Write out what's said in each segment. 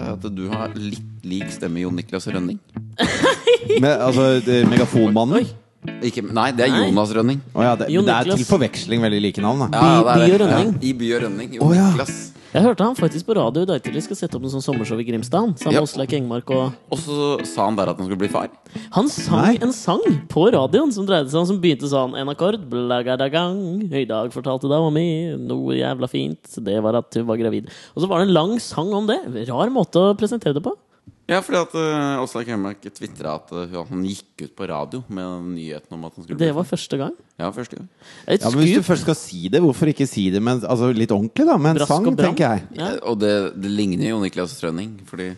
har litt lik stemme Jon Niklas Rønning. Men, altså, det- Megafonmannen? Ikke, nei, det er Jonas Rønning. Å ja, det, Jon det er Niklas. til forveksling veldig like navn, da. Ja, By- det er det. By og Rønning. Ja, I By og Rønning. Jon Å, ja. Niklas. Jeg hørte han faktisk på radio i dag tidlig skal sette opp en sånn sommershow i Grimstad. han, Sammen Ja. med Åslaug Engmark og Og så sa han der at han skulle bli far. Han sang Nei. en sang på radioen som dreide seg om som begynte sånn En akkord, blagadagang, i dag fortalte dama mi noe jævla fint, det var at hun var gravid. Og så var det en lang sang om det. Rar måte å presentere det på. Ja, fordi at uh, Åslaug Høimark tvitra at eh, han gikk ut på radio med nyheten om at han skulle bli Det var første gang. far. Ja, første gang. Et Ja, men Hvis du skup. først skal si det, hvorfor ikke si det med en- altså, litt ordentlig, da? Med en Brask og sang, bram. tenker jeg. Ja. Eh, Og det, det ligner Jon Niklas Rønning, fordi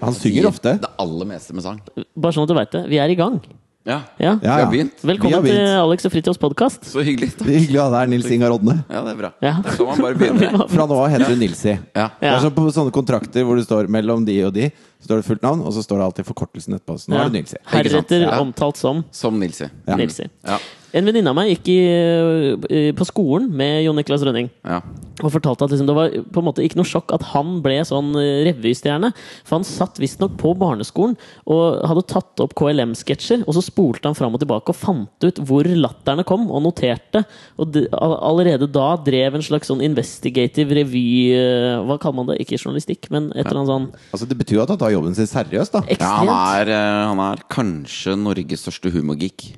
Han synger ofte. det aller meste med sang. Bare sånn at du veit det. Vi er i gang. Ja. Ja. Ja, Vi ja. har begynt. Vi har Velkommen til begynt. Alex og Fritjofs podkast. Så hyggelig. Det er Hyggelig å ha deg her, Nils Ingar Odne. Ja, det er bra. Ja. Da kan man bare begynne. Fra nå av heter du Nilsi. Ja. Det Ja. er sånn på sånne kontrakter hvor det står mellom de og de, så står det fullt navn, og så står det alltid forkortelsen etterpå. Så nå er det Nilsi. Ikke sant? Heretter Ja. omtalt som Som Nilsi. Ja. Nilsi. Ja. En venninne av meg gikk i, eh, på skolen med Jon Niklas Rønning. ja. Og fortalte at liksom, det var på en måte ikke noe sjokk at han ble sånn eh, revystjerne. For han satt visstnok på barneskolen og hadde tatt opp KLM-sketsjer. Og så spolte han fram og tilbake og fant ut hvor latterne kom, og noterte. Og de, all- allerede da drev en slags sånn investigative revy eh, Hva kaller man det? Ikke journalistikk, men et eller annet sånn Altså, det betyr jo at han tar jobben sin seriøst, da. ja han, ekstremt. er, eh, han er kanskje Norges største humorgeek.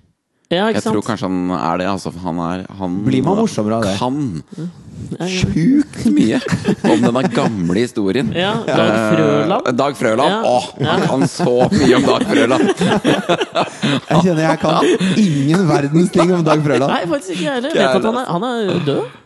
Ja, Jeg ikke tror sant? kanskje han er det. Altså, for han er han Blir man morsommere av det? Kan sjukt mye om denne gamle historien. Ja, Dag Frøland. Eh, Dag Frøland. Ja. Åh, han kan så mye om Dag Frøland! Jeg kjenner jeg kan ingen verdens ting om Dag Nei, Frøland. faktisk ikke jeg heller. Jeg Vet at han er, han er død,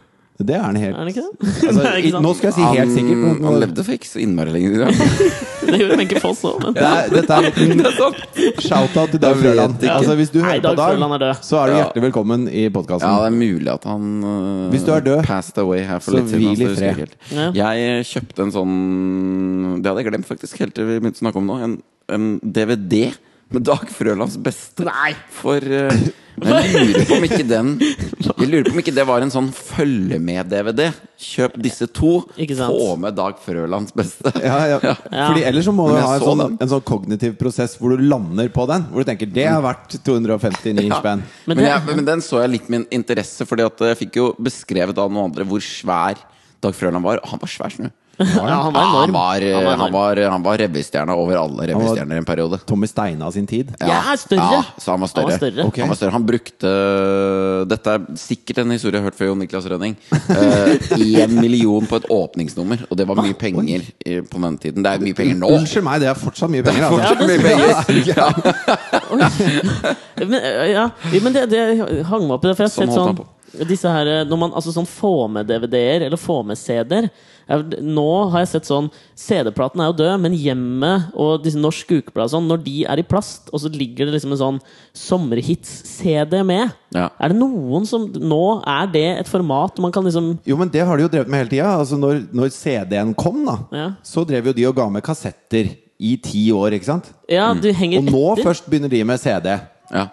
Det er han helt er han ikke det? altså, Nei, ikke i- sant? Nå skal jeg si Han, helt sikkert men- Mm, han levde for ikke så innmari lenge siden. Det gjorde Wenche Foss òg, men det er, Dette er en Det er sant. liten shout-out til Dag Jeg vet Frøland. ikke. Altså, hvis du Nei, hører på Dag Frøland er Dag, død. så er du Ja. hjertelig velkommen i Ja, det podkasten. er mulig at han eh, Hvis du er død, passed away her for så litt siden. hvil altså, i jeg husker fred. ikke helt. Jeg kjøpte en sånn Det hadde jeg glemt faktisk helt til vi begynte å snakke om det nå. En, en DVD med Dag Frølands beste. Nei. For eh, Jeg lurer på om ikke den Jeg lurer på om ikke det var en sånn følge med-DVD. Kjøp disse to. Ikke sant. Få med Dag Frølands beste. Ja, ja. Fordi Ellers så må du Men jeg ha en så sånn, den. en sånn kognitiv prosess hvor du lander på den. Hvor du tenker 'det er verdt 259 Ja. spenn'. Men Men, det- jeg, men den så jeg litt med interesse, Fordi at jeg fikk jo beskrevet av noen andre hvor svær Dag Frøland var. Og han var svær, snø. ja, han var Ja, enorm. han var, Han var eh, enorm. han var, han var revystjerne over alle revystjerner i en periode. Tommy Steina sin tid. Jeg er større. Ja, så han var større. Han var større. Ok. Han, var større. han brukte eh, Dette er sikkert en historie jeg har hørt før, Jon Niklas Rønning. Én million på et åpningsnummer, og det var mye penger i- på den tiden. Det er mye penger nå. Unnskyld meg, det er fortsatt mye penger. Altså. fortsatt mye penger. Ja. Men, eh, ja. Jo, men det, det hang meg opp i det, for jeg har Sånn sett holdt han på. sånn disse her, eh, når man altså sånn får med DVD-er eller får med CD-er Jeg- Nå har jeg sett sånn CD-platen er jo død, men hjemmet og disse norsk ukeblad og sånn, når de er i plast, og så ligger det liksom en sånn sommerhits-CD med Ja. Er det noen som Nå er det et format man kan liksom Jo, men det har de jo drevet med hele tida. Altså, når, når CD-en kom, da, Ja. så drev jo de og ga med kassetter i ti år, ikke sant? Ja, Mm. du henger Og nå etter. først begynner de med CD. Ja.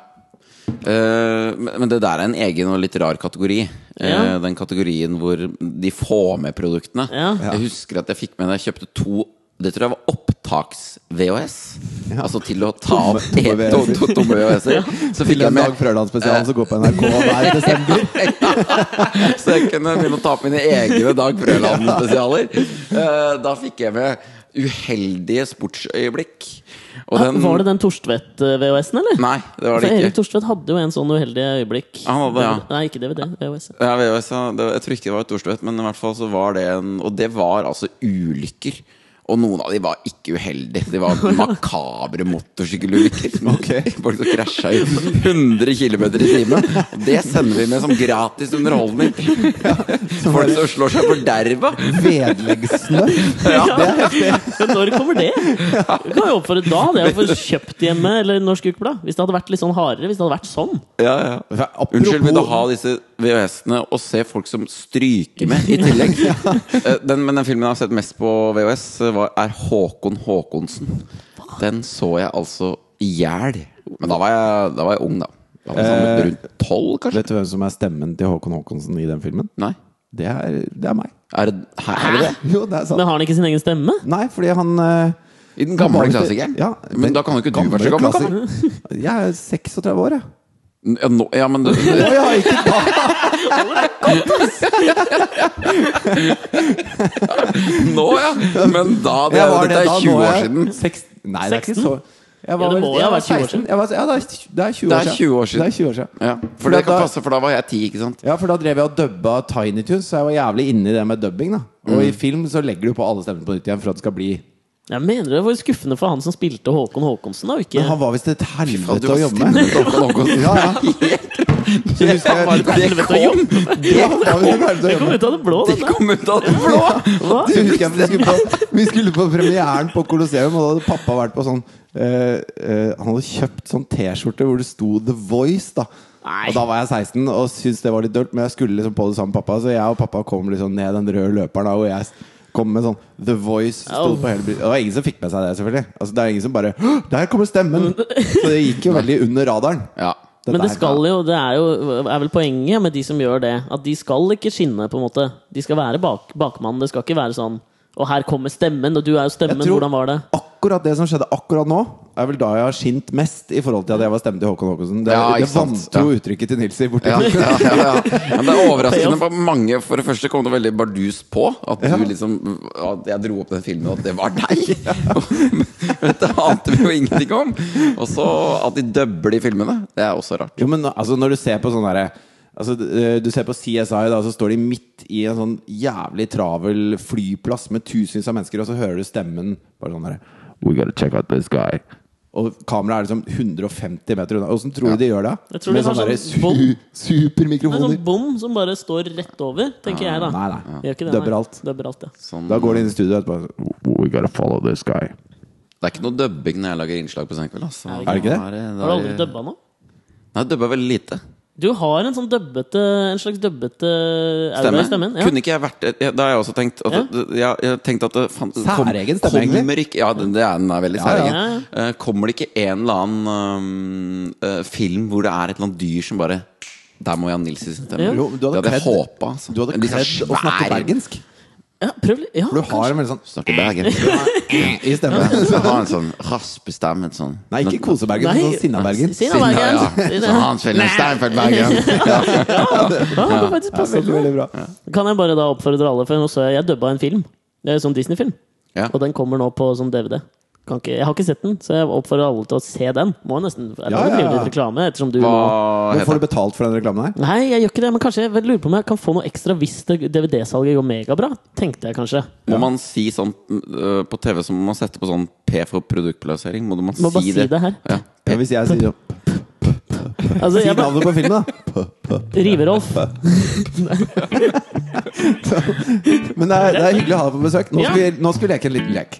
Eh, men men det der er en egen og litt rar kategori. Eh, Ja. den kategorien hvor de får med produktene. Ja. Ja. Jeg husker at jeg fikk med da jeg kjøpte to det tror jeg var opptaks-VHS. Altså til å ta opp Tomme- tomme to- to- to- tomme VHS-er. Så fikk Til jeg en Dag med Frøland-spesialen som går på NRK hver desember. Så jeg kunne begynne å ta opp mine egne Dag Frøland-spesialer. Eh, da fikk jeg med Uheldige sportsøyeblikk. Og den Ah, Var det den Torstvedt-VHS-en, eller? Nei, det var For det Altså, Erik ikke. Torstvedt hadde jo en sånn uheldige øyeblikk. Han hadde, ja. Nei, ikke DVD. VHS. Ja, VHS, ja. Det, jeg tror ikke det var et ordstøt, men i hvert fall så var det en Og det var altså ulykker. Og noen av de var ikke uheldige. De var makabre motorsykkelulykker. Ok. Folk som krasja i 100 km i timen. Og det sender vi med som gratis underholdning. Folk som slår seg forderva. Vedleggssnø. Men når kommer det? Du kan jo oppfordre da. Det er jo for kjøpt hjemme eller Norsk Ukeblad. Hvis det hadde vært litt sånn hardere. Hvis det hadde vært sånn. Ja, ja. Unnskyld, vil du ha disse VHS-ene og se folk som stryker med i tillegg? Eh, den, men den filmen jeg har sett mest på VHS, eh, var, er Håkon Håkonsen. Den så jeg altså i hjel. Men da var jeg, da var jeg ung, da. Da var jeg Eh, sånn rundt tolv, kanskje? Vet du hvem som er stemmen til Håkon Håkonsen i den filmen? Nei. Det er, det er meg. Er det, her, er det det? Jo, det er sant. Men har han ikke sin egen stemme? Nei, fordi han eh, I den gamle Gamle- klassikeren? Ja, men da kan jo ikke du gamle være så gammel. Kan du? Jeg er 36 år, jeg. Ja, nå, ja, men du, Å ja, ikke da! nå, ja! Men da det, Jeg var Dette er da, nå 20 år jeg siden. seks- Nei, det er ikke 16? så jeg var, Ja, det må vel- jo jeg ha var vært 20 år 16. Jeg var, ja, det er, det er 20 Det år er siden. 20 år siden. Det er 20 år siden. Ja, for det kan passe, for da var jeg ti, ikke sant? Ja, for da drev jeg og dubba Tiny Tunes, så jeg var jævlig inni det med dubbing. da Og Mm. i film så legger du på alle stemmene på nytt igjen for at det skal bli Jeg mener det var skuffende for han som spilte Håkon Håkonsen. da, og ikke... Men han var visst et faen, du helvete var å jobbe med. Ja, ja. Så husker Ja, jeg var det helvete å kom! Ja, han var visst et helvete å Det jobbe kom med. ut av det blå, Det den der! kom ut av det blå! Hva? Så husker jeg vi skulle, på, vi skulle på premieren på Colosseum, og da hadde pappa vært på sånn eh, eh, Han hadde kjøpt sånn T-skjorte hvor det sto The Voice, da. Nei. Og da var jeg 16 og syntes det var litt dølt, men jeg skulle liksom på det sammen med pappa. Så jeg og pappa kom liksom ned den røde løperen, da, og jeg kom med sånn The Voice. Stod Au. på hele, bry- det var ingen som fikk med seg det, selvfølgelig. Altså, det er ingen som bare «Hå! Der kommer stemmen! Så det gikk jo veldig under radaren. Ja. Men det der- skal jo, det er jo er vel poenget med de som gjør det, at de skal ikke skinne, på en måte. De skal være bak, bakmannen. Det skal ikke være sånn Og her kommer stemmen, og du er jo stemmen. Jeg tror- Hvordan var det? Akkurat det som skjedde akkurat nå, er vel da jeg har skint mest i forhold til at jeg var stemmen til Håkon Håkonsen. Det, Ja, ikke det sant? vantro uttrykket til Nilsi borti Ja, ja, ja, ja. Men det er overraskende på mange. For det første kom det veldig bardus på at du liksom At jeg dro opp den filmen, og at det var deg! Men det ante vi jo ingenting om. Og så at de dubber de filmene. Det er også rart. Jo, men altså, når du ser på sånn derre Altså, d- du ser på CSI, da, så står de midt i en sånn jævlig travel flyplass med tusenvis av mennesker, og så hører du stemmen bare sånn derre We gotta check out this guy. Og kameraet er liksom 150 meter unna. Åssen tror du de gjør det? Jeg tror Med de har sånne derre sånn bånd. su Det er supermikrofoner. sånn bom som bare står rett over, tenker jeg, sånn Nei, da. nei. Gjør ikke det, Døbber nei. alt. Døbber alt, ja. Sånn, Da går de inn i studio etterpå. we gotta follow this guy. Det er ikke noe dubbing når jeg lager innslag på Senkveld. Altså. Er det ikke det? Da er Har du aldri da er- dubba nå? Nei, dubba veldig lite. Du har en sånn døbbete En slags døbbete aura Stemme. i stemmen. Ja. Kunne ikke jeg vært ja, Da har jeg også tenkt at, ja. jeg har tenkt at det fan- kom- Særegen stemme, egentlig. kommer ikke, Ja, den, det er, den er veldig ja. særegen. Ja, Eh, kommer det ikke en eller annen um, eh, film hvor det er et eller annet dyr som bare Der må jeg ha Nils i sin stemme. Ja. Jo, du hadde det hadde jeg kledd- håpa. Altså. Du hadde Men disse er kledd å snakke svære- bergensk. Ja, prøv litt. Ja, For du har en veldig sånn Snakker bergensk. i stemmen. Så har han en sånn raspestemme. en Sånn. Nei, ikke kosebergen, Nei. men sånn sinnabergen. Sinna Bergen. ja. Så har han Sven Steinfeld Bergen. kanskje. Ja, det faktisk Det er passet. veldig, veldig bra. Kan jeg bare da oppfordre alle, for nå så jeg jeg dubba en film. Det er en sånn Disney-film. Ja. Og den kommer nå på sånn som DVD. Kan ikke, jeg har ikke sett den, så jeg oppfordrer alle til å se den. Må nesten, eller Ja, det blir ja, jo ja. litt reklame, ettersom du må Hva Men heter får du betalt for den reklamen her? Nei, jeg gjør ikke det, men kanskje jeg lurer på om jeg kan få noe ekstra hvis det- DVD-salget går megabra. Tenkte jeg kanskje. Må man si sånn øh, På TV så må man sette på sånn P for produktplassering. Må man Må bare si si det? det her. Ja. Ja, hvis jeg sier opp Altså, Si jeg bare navnet på filmen, da! Riverolf. Men det er, det er hyggelig å ha deg på besøk. Nå skal, Ja. vi, nå skal vi leke en liten lek.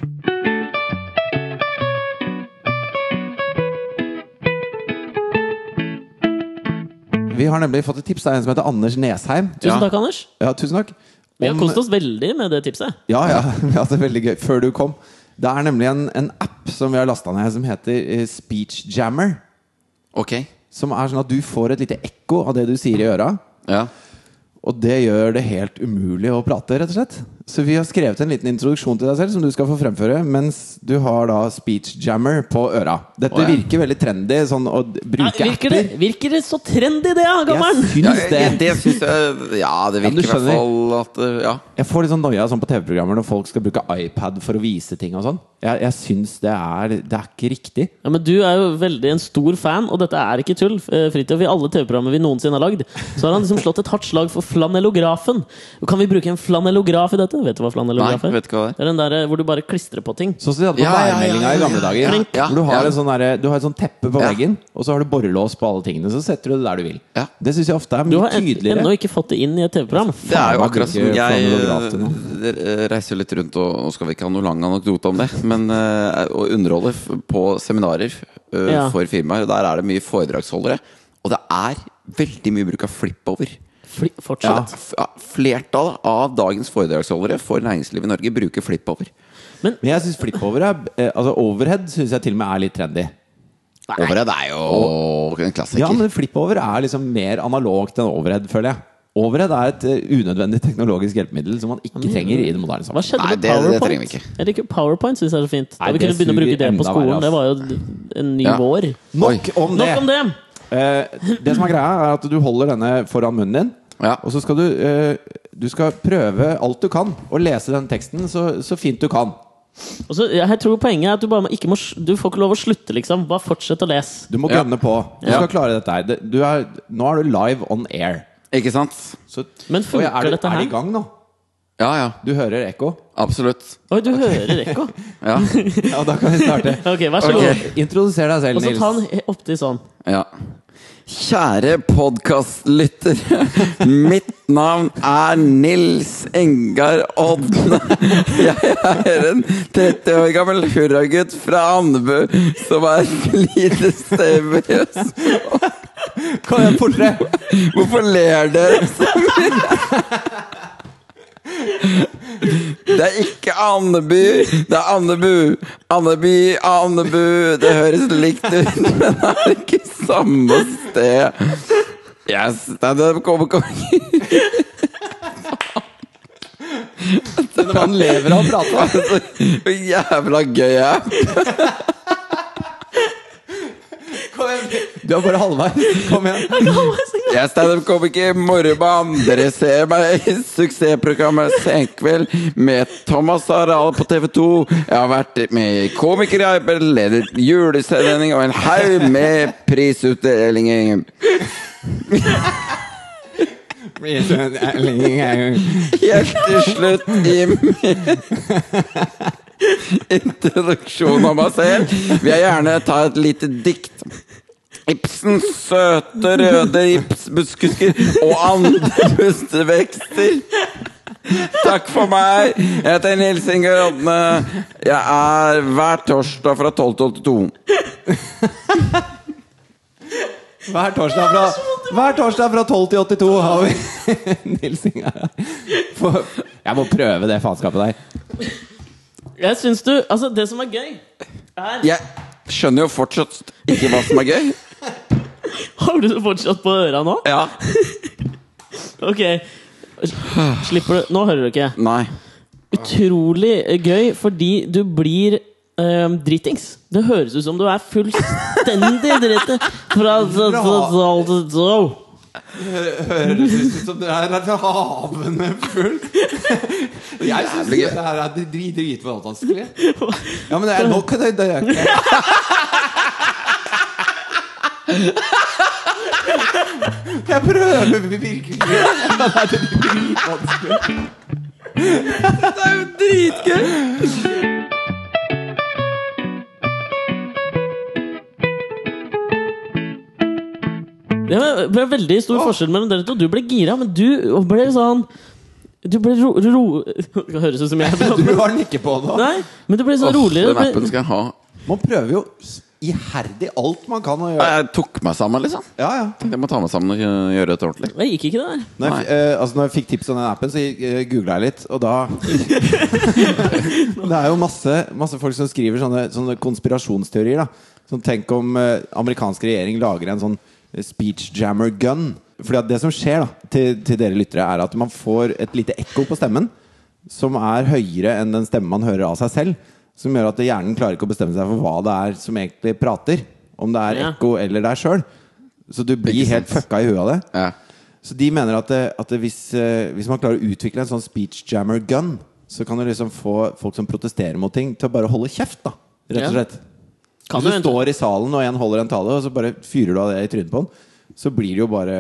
Vi har nemlig fått et tips. Det er en som heter Anders Nesheim. Tusen Ja. takk, Anders. Ja, tusen takk. Vi har Om- kost oss veldig med det tipset. Ja, ja. Vi har hatt det veldig gøy. Før du kom. Det er nemlig en, en app som vi har lasta ned, som heter eh, Speech Jammer. Ok. Som er sånn at du får et lite ekko av det du sier i øra. Ja. Og det gjør det helt umulig å prate, rett og slett. Så vi har skrevet en liten introduksjon til deg selv som du skal få fremføre, mens du har da speech jammer på øra. Dette Å, ja. virker veldig trendy, sånn å d- Nei, bruke virker, det, apper. virker det så trendy, det, ja, gammelen? Jeg Ja, syns det. det det syns jeg Ja, det Ja, virker i men du hvert skjønner. fall at øh, Ja. Jeg får litt sånn noia sånn på TV-programmer når folk skal bruke iPad for å vise ting og sånn. Jeg, jeg syns det er Det er ikke riktig. Ja, men Du er jo veldig en stor fan, og dette er ikke tull. eh, Fridtjof, I alle TV-programmer vi noensinne har lagd, så har han liksom slått et hardt slag for flanellografen. Og Kan vi bruke en flanellograf i dette? Vet du hva flanellograf Nei, er? vet ikke hva det er. Det er den der eh, hvor du bare klistrer på ting. Sånn som de hadde på Ja, ja, ja, værmeldinga ja, i gamle ja, dager. ja, hvor du har, ja. en sånn derre- du har et sånn teppe på Ja. veggen, og så har du borrelås på alle tingene. Så setter du det der du vil. Ja. Det syns jeg ofte er Du mye har en- tydeligere. ennå ikke fått det inn i et TV-program. Det er jo Faen, akkurat som jeg bruker jeg flanellograf til øh, reiser litt rundt, og nå skal vi ikke ha noe lang anekdote om det, men øh, og underholder f- på seminarer øh, Ja. for firmaer. og Der er det mye foredragsholdere. Og det er veldig mye bruk av flip-over. Fli- Fortsatt. F- ja, Flertallet av dagens foredragsholdere for næringslivet i Norge bruker flip-over. Men jeg syns flip-over er eh, Altså overhead syns jeg til og med er litt trendy. Overhead er jo en klassiker. Ja, men flip-over er liksom mer analogt enn overhead, føler jeg. Overhead er et eh, unødvendig teknologisk hjelpemiddel som man ikke trenger i det moderne Hva samfunnet. skjedde Nei, med det- det PowerPoint? trenger vi ikke. Jeg liker PowerPoint, syns jeg er så fint. Da Nei, vi det kunne begynne å bruke suger det på enda verre, skolen. Det var jo d- en ny Ja. vår. Nok om det! Nok om det! Eh, det som er greia, er at du holder denne foran munnen din. Ja. Og så skal du eh, Du skal prøve alt du kan å lese den teksten så, så fint du kan. Og så, jeg jeg tror poenget er at du bare må- ikke må s- Du får ikke lov å slutte, liksom. Bare fortsett å lese. Du må Ja. gønne på. Du Ja. skal klare dette her. Det- Du er, nå er du live on air. Ikke sant? Så, Men funker Oi, er du, dette Er her? det i gang nå? Ja, ja. Du hører ekko? Absolutt. Oi, du hører ekko! Ja. Ja, da kan vi starte. Ok, vær så Ok. god. Introduser deg selv, Og så ta Nils. den he- opptil sånn. ja. Kjære podkastlyttere. Mitt navn er Nils Engar Odne. Jeg er en 30 år gammel hurragutt fra Andebu som er slitestemmer. Kom igjen, fortere! Hvorfor ler dere så mye? Det er ikke Andeby, det er Andebu. Andeby, Andebu. Det høres likt ut, men det er ikke samme sted. Yes, nei, det kommer ikke Denne mannen lever av å prate. Altså, hvor Jævla gøy jeg er. Kom igjen. Du er bare halvveis. Kom igjen. Jeg er standup-komiker, morremann. Dere ser meg i suksessprogrammet Senkveld med Thomas Harald på TV 2. Jeg har vært med i Komikerarbeidet, ledet julesending og en haug med prisutdelinger. Helt til slutt i min introduksjon av meg selv vil jeg gjerne ta et lite dikt. Ibsens søte, røde ibsbuskusker og andre bustevekster. Takk for meg. Jeg heter Nils Ingar Odne. Jeg er hver torsdag fra 12 til 2. Hver torsdag fra, hver torsdag fra 12 til 82 har vi Nils Ingar her. For- Jeg må prøve det faenskapet der. Jeg syns du Altså, det som er gøy, er Jeg skjønner jo fortsatt ikke hva som er gøy. Har du det fortsatt på øra nå? Ja. Ok. Slipper du Nå hører du ikke. Nei. utrolig gøy fordi du blir eh, dritings. Det høres ut som du er fullstendig dritt fra så- så- så- så- så. Høres ut som det her er havende fullt. Jeg syns Jævlig gøy. dette her er drit- dritvanskelig. Ja, men det er nok det, det er ikke. Jeg prøver virkelig. Ja, Det er dritvanskelig. Det er jo dritgøy! Det var det var veldig stor forskjell mellom dere to. Du ble gira, men du ble sånn Du ble ro... ro det høres ut som jeg Du har den ikke på nå. Nei, men du ble sånn Åh, roligere. Den Du appen ble, skal jeg ha. Man prøver jo iherdig alt man kan å gjøre. Jeg tok meg sammen, liksom. Ja, ja. Jeg må ta meg sammen og øh, gjøre dette ordentlig. det gikk ikke, det der. Når jeg, eh, altså når jeg fikk tips om den appen, så uh, googla jeg litt, og da Det er jo masse, masse folk som skriver sånne, sånne konspirasjonsteorier. da Sånn Tenk om eh, amerikansk regjering lager en sånn speech jammer gun. Fordi at det som skjer da til, til dere lyttere, er at man får et lite ekko på stemmen som er høyere enn den stemmen man hører av seg selv. Som gjør at hjernen klarer ikke å bestemme seg for hva det er som egentlig prater. Om det er Ja. ekko eller deg sjøl. Så du blir Ikke helt sant. fucka i huet av det. Ja. Så de mener at, det, at det hvis, eh, hvis man klarer å utvikle en sånn speech jammer gun, så kan du liksom få folk som protesterer mot ting, til å bare holde kjeft, da. Rett og Ja. slett. Kan hvis du du vente? står i salen og en holder en tale, og så bare fyrer du av det i trynet på den, så blir det jo bare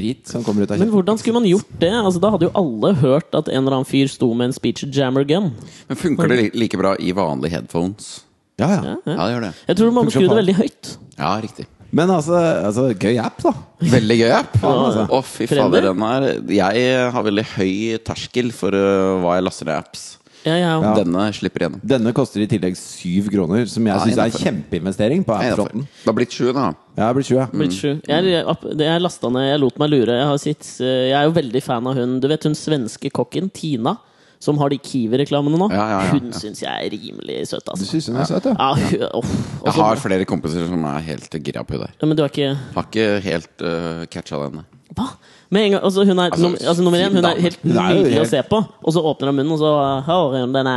drit som kommer ut av Men kjeften. hvordan skulle man gjort det? Altså, da hadde jo alle hørt at en eller annen fyr sto med en speech jammer gun. Men funker det li- like bra i vanlige headphones? Ja, ja. Ja, det gjør det. Jeg tror du må Funker skru det faen. veldig høyt. Ja, riktig. Men altså, altså gøy app, da. Veldig gøy app. Å, altså. fy Fremmer? fader, den er Jeg har veldig høy terskel for øh, hva jeg laster ned apps. Ja, ja. Ja. Denne slipper igjennom. Denne koster i tillegg syv kroner, som jeg Ja, syns er innenfor. kjempeinvestering på Nei, app-fronten. Det har blitt sju, da. Ja, jeg blir 20, jeg. Blitt sju. Jeg, jeg, app- det- jeg lasta ned, jeg lot meg lure. Jeg, har sitt, eh, jeg er jo veldig fan av hun Du vet hun svenske kokken, Tina, som har de Kiwi-reklamene nå? Ja, ja, ja, hun ja. syns jeg er rimelig søt, Du altså. syns hun er søt, ja? Ja, hun, uff. altså, Jeg Også- har flere kompiser som er helt gira på henne der. ja, men du er ikke Har ikke helt øh, catcha den. nei. Hva? Med en gang, altså, hun er, num, altså, nummer én, fin hun er dame. helt Hun er jo nydelig å helt- se på. Og så åpner hun munnen, og så hører hun denne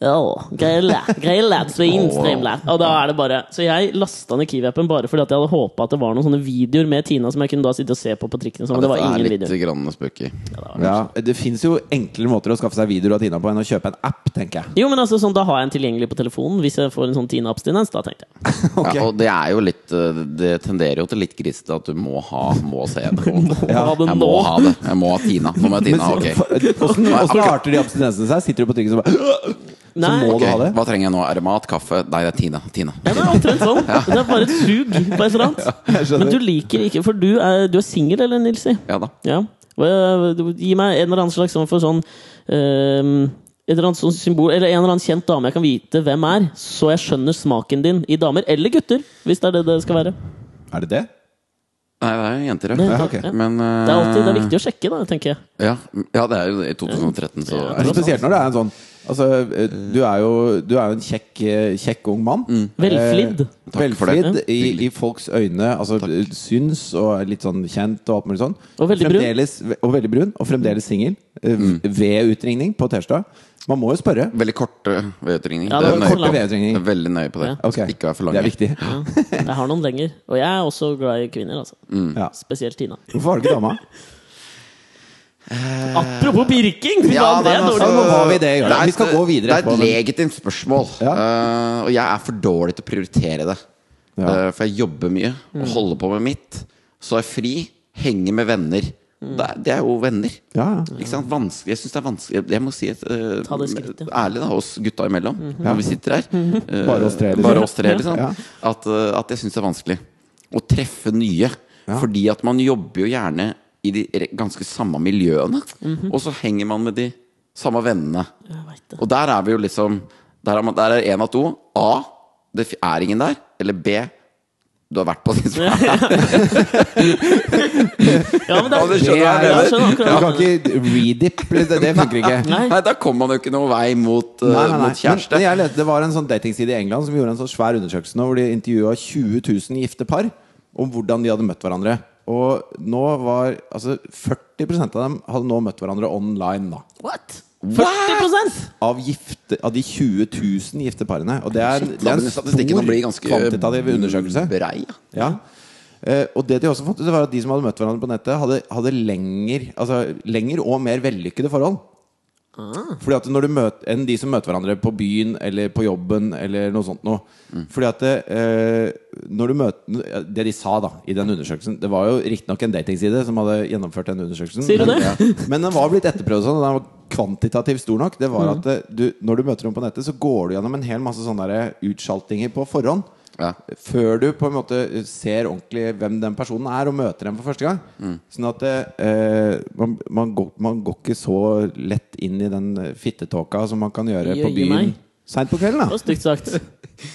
«Åh, Grillet, grillet, svinstrimlet. Og da er det bare Så jeg lasta ned Kiwi-appen bare fordi at jeg hadde håpa at det var noen sånne videoer med Tina som jeg kunne da sitte og se på på trikken. Så, men det var Dette ingen er litt videoer. grann spooky. Ja, det fins jo enklere måter å skaffe seg videoer av Tina på enn å kjøpe en app, tenker jeg. Jo, men altså, sånn, da har jeg en tilgjengelig på telefonen hvis jeg får en sånn Tina-abstinens. da, tenkte jeg. Ok. Ja, og det er jo litt eh, Det tenderer jo til litt grisete at du må ha Må se det. Ja. Ha det Jeg nå. må ha det. Jeg må ha Tina. Nå må jeg ha Tina. Ok. Åssen arter de abstinensene seg? Sitter du på trikken og bare Så Nei. må Ok, du ha det? Hva trenger jeg nå? Er det mat? Kaffe? Nei, det er Tina. Tina. Ja, det er omtrent sånn. Det er bare et sug på et eller jeg annet. skjønner. Men du liker ikke For du er, du er singel, eller, Nilsi? Ja da. Ja. Hva- du- Gi meg en eller annen slags form for sånn ehm, et eller annet sånn symbol Eller en eller annen kjent dame jeg kan vite hvem er, så jeg skjønner smaken din i damer. Eller gutter, hvis det er det det skal være. Er det det? Nei, det er jo jenter, Det er ja. Ja, ok. jenter, ja. Men eh, Det er alltid det er viktig å sjekke, da, tenker jeg. Ja, ja det er jo i 2013, så Ja. er det Spesielt når det er en sånn Altså, eh, du er jo, du er jo en kjekk, eh, kjekk ung mann. Velflidd. Eh, Mm. Takk for velflidd det. i, i folks øyne. Altså syns og er litt sånn kjent og alt mulig sånn. Og veldig brun. fremdeles, Og veldig brun. Og fremdeles singel. eh, Mm. Ved utringning på tirsdag. Man må jo spørre. Veldig korte vedutringninger. Ja, det det er var nøye korte på. vedutringninger. Det er Veldig nøye på det. Ok. Skal Ikke være for Det lange. er viktig. Ja. Jeg har noen lenger. Og jeg er også glad i kvinner, altså. Ja. Spesielt Tina. Hvorfor har du ikke dama? Apropos pirking! Fy faen, men det er altså, Ja, dårlig. nå var vi i det, Jørgen. er et- Vi skal gå videre Det er etterpå, et men- legitimt spørsmål. Ja. Eh, og jeg er for dårlig til å prioritere det. Ja. Eh, for jeg jobber mye og Mm. holder på med mitt. Så er jeg fri, henger med venner. Mm. Det, er, det er jo venner. Ja, ja. Ikke sant? Vanskelig, jeg syns det er vanskelig Jeg- Jeg må si et, eh, Ta det skrittet. Mhm. ærlig, da, oss gutta imellom, når vi sitter her eh, Bare oss tre, liksom. bare oss tre, liksom. Ja. At, eh, at jeg syns det er vanskelig å treffe nye. Fordi at man jobber jo gjerne i de re- ganske samme miljøene. Mhm. Og så henger man med de samme vennene. Jeg vet det. Og der er vi jo liksom Der er, man, der er en av to. A. Det f- er ingen der. Eller B. Du har vært på de som er Ja, men det Ja, er, det skjønner jeg, Ja, jeg skjønner Du kan akkurat det. ikke redip. Det, det funker ikke. Nei. Nei, da kommer man jo ikke noen vei mot, eh, Nei, nei, nei. mot kjæreste. Men, men jeg leste, det var en sånn datingside i England som gjorde en sånn svær undersøkelse nå, hvor de intervjua 20 000 gifte par om hvordan de hadde møtt hverandre. Og nå var altså 40 av dem hadde nå møtt hverandre online, da. What? 40 Av, gifte, av de 20 000 gifte parene. Og det er, det La er den en stor statistikken nå bli ganske mm, kvantitativ undersøkelse. Brei, ja. Ja. Eh, og det de også fant ut, var at de som hadde møtt hverandre på nettet, hadde, hadde lenger, altså, lenger og mer vellykkede forhold. Ah. Fordi at når du møter, enn de som møter hverandre på byen eller på jobben eller noe sånt noe. Mm. Fordi at eh, når du møter Det de sa da i den undersøkelsen Det var jo riktignok en datingside som hadde gjennomført den undersøkelsen. Sier du men, det? Ja. men den var blitt etterprøvd sånn, og den var kvantitativt stor nok. Det var Mm. at eh, du, når du møter noen på nettet, så går du gjennom en hel masse sånne der eh, utskjaltinger på forhånd. Ja. Før du på en måte ser ordentlig hvem den personen er, og møter dem for første gang. Mm. Sånn at eh, man, man, går, man går ikke så lett inn i den fittetåka som man kan gjøre Jøye på byen meg. seint på kvelden. Det da var stygt sagt.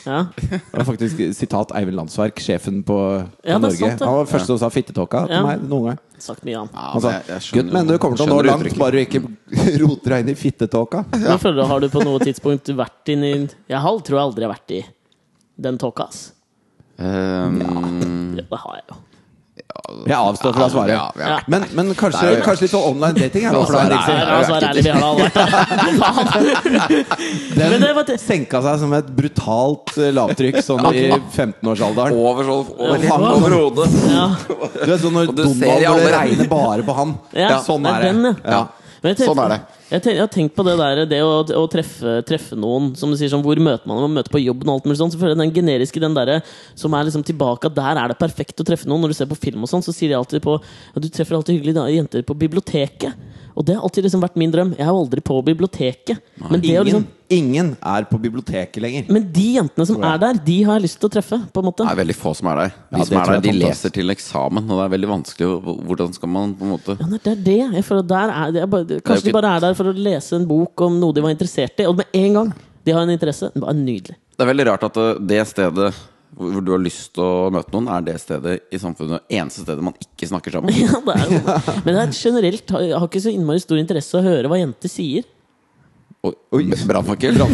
Ja. Det var faktisk sitat Eivind Landsverk, sjefen på, på Ja, det er Norge. sant, det. Han var den første som sa 'fittetåka' til Ja. meg noen gang. Sagt mye annet. Ja, Han sa men jeg- jeg skjønner Altså, 'gutt, men du jo- kommer til å nå skjønner langt, uttrykket. bare du ikke roter deg inn i fittetåka'. Nå føler jeg, Har du på noe tidspunkt vært inn i Jeg har, tror jeg aldri har vært i den tåka, ass. Ehm, Det har jeg jo. Jeg avstår fra å svare. Ja, ja. Ja. Men, men kanskje, Nei. kanskje litt sånn online dating er La sånn- noe oss for deg, være Nilsen. ærlige. Nei, La oss være ærlige, vi har alle vært der. Faen. Men det var Den det- senka seg som et brutalt eh, lavtrykk sånn i 15-årsalderen. Over sånn over, Ja. over hodet. Ja. Du vet sånn når Og du Donald ser i hvor det alle- regner bare på han. Ja, Sånn det er er det. den, ja. Ja. Men jeg tenkte- Sånn er det. Jeg, tenk, jeg har tenkt på det der Det å, å treffe, treffe noen Som du sier sånn Hvor møter man dem? Man møter på jobben og alt mulig sånn Så føler jeg den generiske Den der Som er liksom tilbake at Der er det perfekt å treffe noen Når du ser på film og sånn Så sier de alltid på ja, Du treffer alltid hyggelige da- jenter på biblioteket Og det har alltid liksom vært min drøm Jeg er jo aldri på biblioteket Men det å Ingen, liksom ingen er på biblioteket lenger. men de jentene som er der, de har jeg lyst til å treffe. på en måte Det er veldig få som er der. De Ja, det som er tror der, jeg de er sant, ass. leser til eksamen, og det er veldig vanskelig. å- Hvordan skal man på en måte Ja, nei, det er det. Jeg føler at der er, det er bare, kanskje ikke- de bare er der for å lese en bok om noe de var interessert i. Og med en gang de har en interesse. Det er nydelig. Det er veldig rart at eh, det stedet hvor du har lyst til å møte noen, er det stedet i samfunnet eneste stedet man ikke snakker sammen. Ja, det er jo. Men det er generelt har, har ikke så innmari stor interesse å høre hva jenter sier. Oi, brannfakkel. Og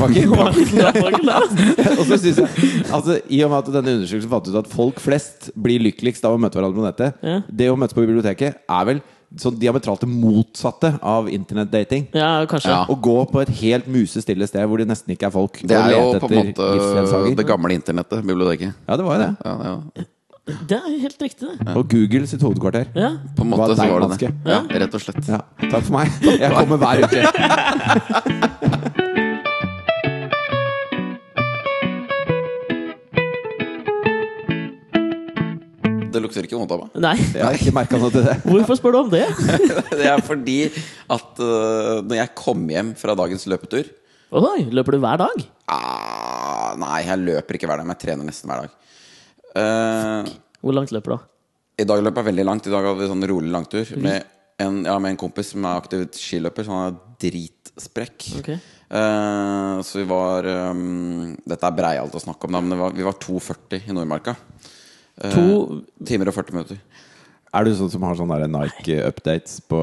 så synes jeg altså, I og med at denne undersøkelsen fant ut at folk flest blir lykkeligst av å møte hverandre på nettet Ja. Det å møtes på biblioteket er vel sånn diametralt det motsatte av internettdating. Ja, kanskje. Ja. Å gå på et helt musestille sted hvor det nesten ikke er folk. Det og er jo lete på en etter måte livsledsager. det gamle internettet, biblioteket. Ja, det var jo det. Ja, det er jo- Det er helt riktig, det. Og Google sitt hovedkvarter. Ja. På en Var måte så var det det. deiligmanske. Ja, rett og slett. Ja, takk for meg. Jeg kommer hver uke. Det lukter ikke vondt av meg. Nei. Jeg har ikke merka noe til det. Hvorfor spør du om det? Det er fordi at øh, når jeg kom hjem fra dagens løpetur Oi, løper du hver dag? ah, Nei, jeg løper ikke hver dag, men jeg trener nesten hver dag. Eh, Hvor langt løper du? da? I dag løp jeg veldig langt. I dag hadde vi sånn rolig langtur Mhm. med en, ja, med en kompis som er aktiv skiløper, så han er dritsprekk. Ok. Eh, så vi var um, Dette er breialt å snakke om, da, men det var, vi var 2,40 i Nordmarka. Eh, To- timer og 40 minutter. Er du sånn som har sånne der Nike-updates på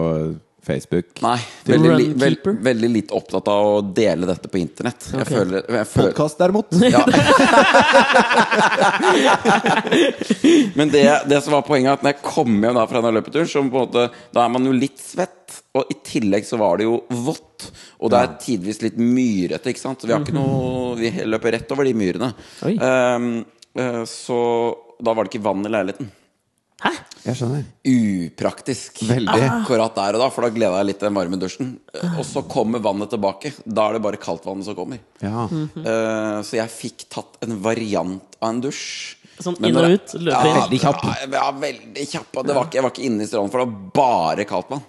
Facebook? Nei. Veldig, li, vel, Runkeeper? veldig litt opptatt av å dele dette på internett. Jeg Ok. føler, jeg føler Podkast, derimot. Ja. Men det, det som var poenget, er at når jeg kom hjem da fra denne løpeturen, så på en måte, da er man jo litt svett. Og i tillegg så var det jo vått. Og det er tidvis litt myrete, ikke sant. Så vi har ikke noe Vi løper rett over de myrene. Oi. Ehm, eh, så da var det ikke vann i leiligheten. Hæ? Jeg skjønner. Upraktisk Ah. Veldig. akkurat der og da, for da gleda jeg litt til den varme dusjen. Eh, Og så kommer vannet tilbake. Da er det bare kaldtvannet som kommer. Ja. Mhm. Eh, Så jeg fikk tatt en variant av en dusj. Sånn Men inn når og jeg- ut, løpe inn. Veldig kjapp. Ja, ja, veldig kjapp. og Det var ikke, jeg var ikke inne i stranden, for det var bare kaldtvann.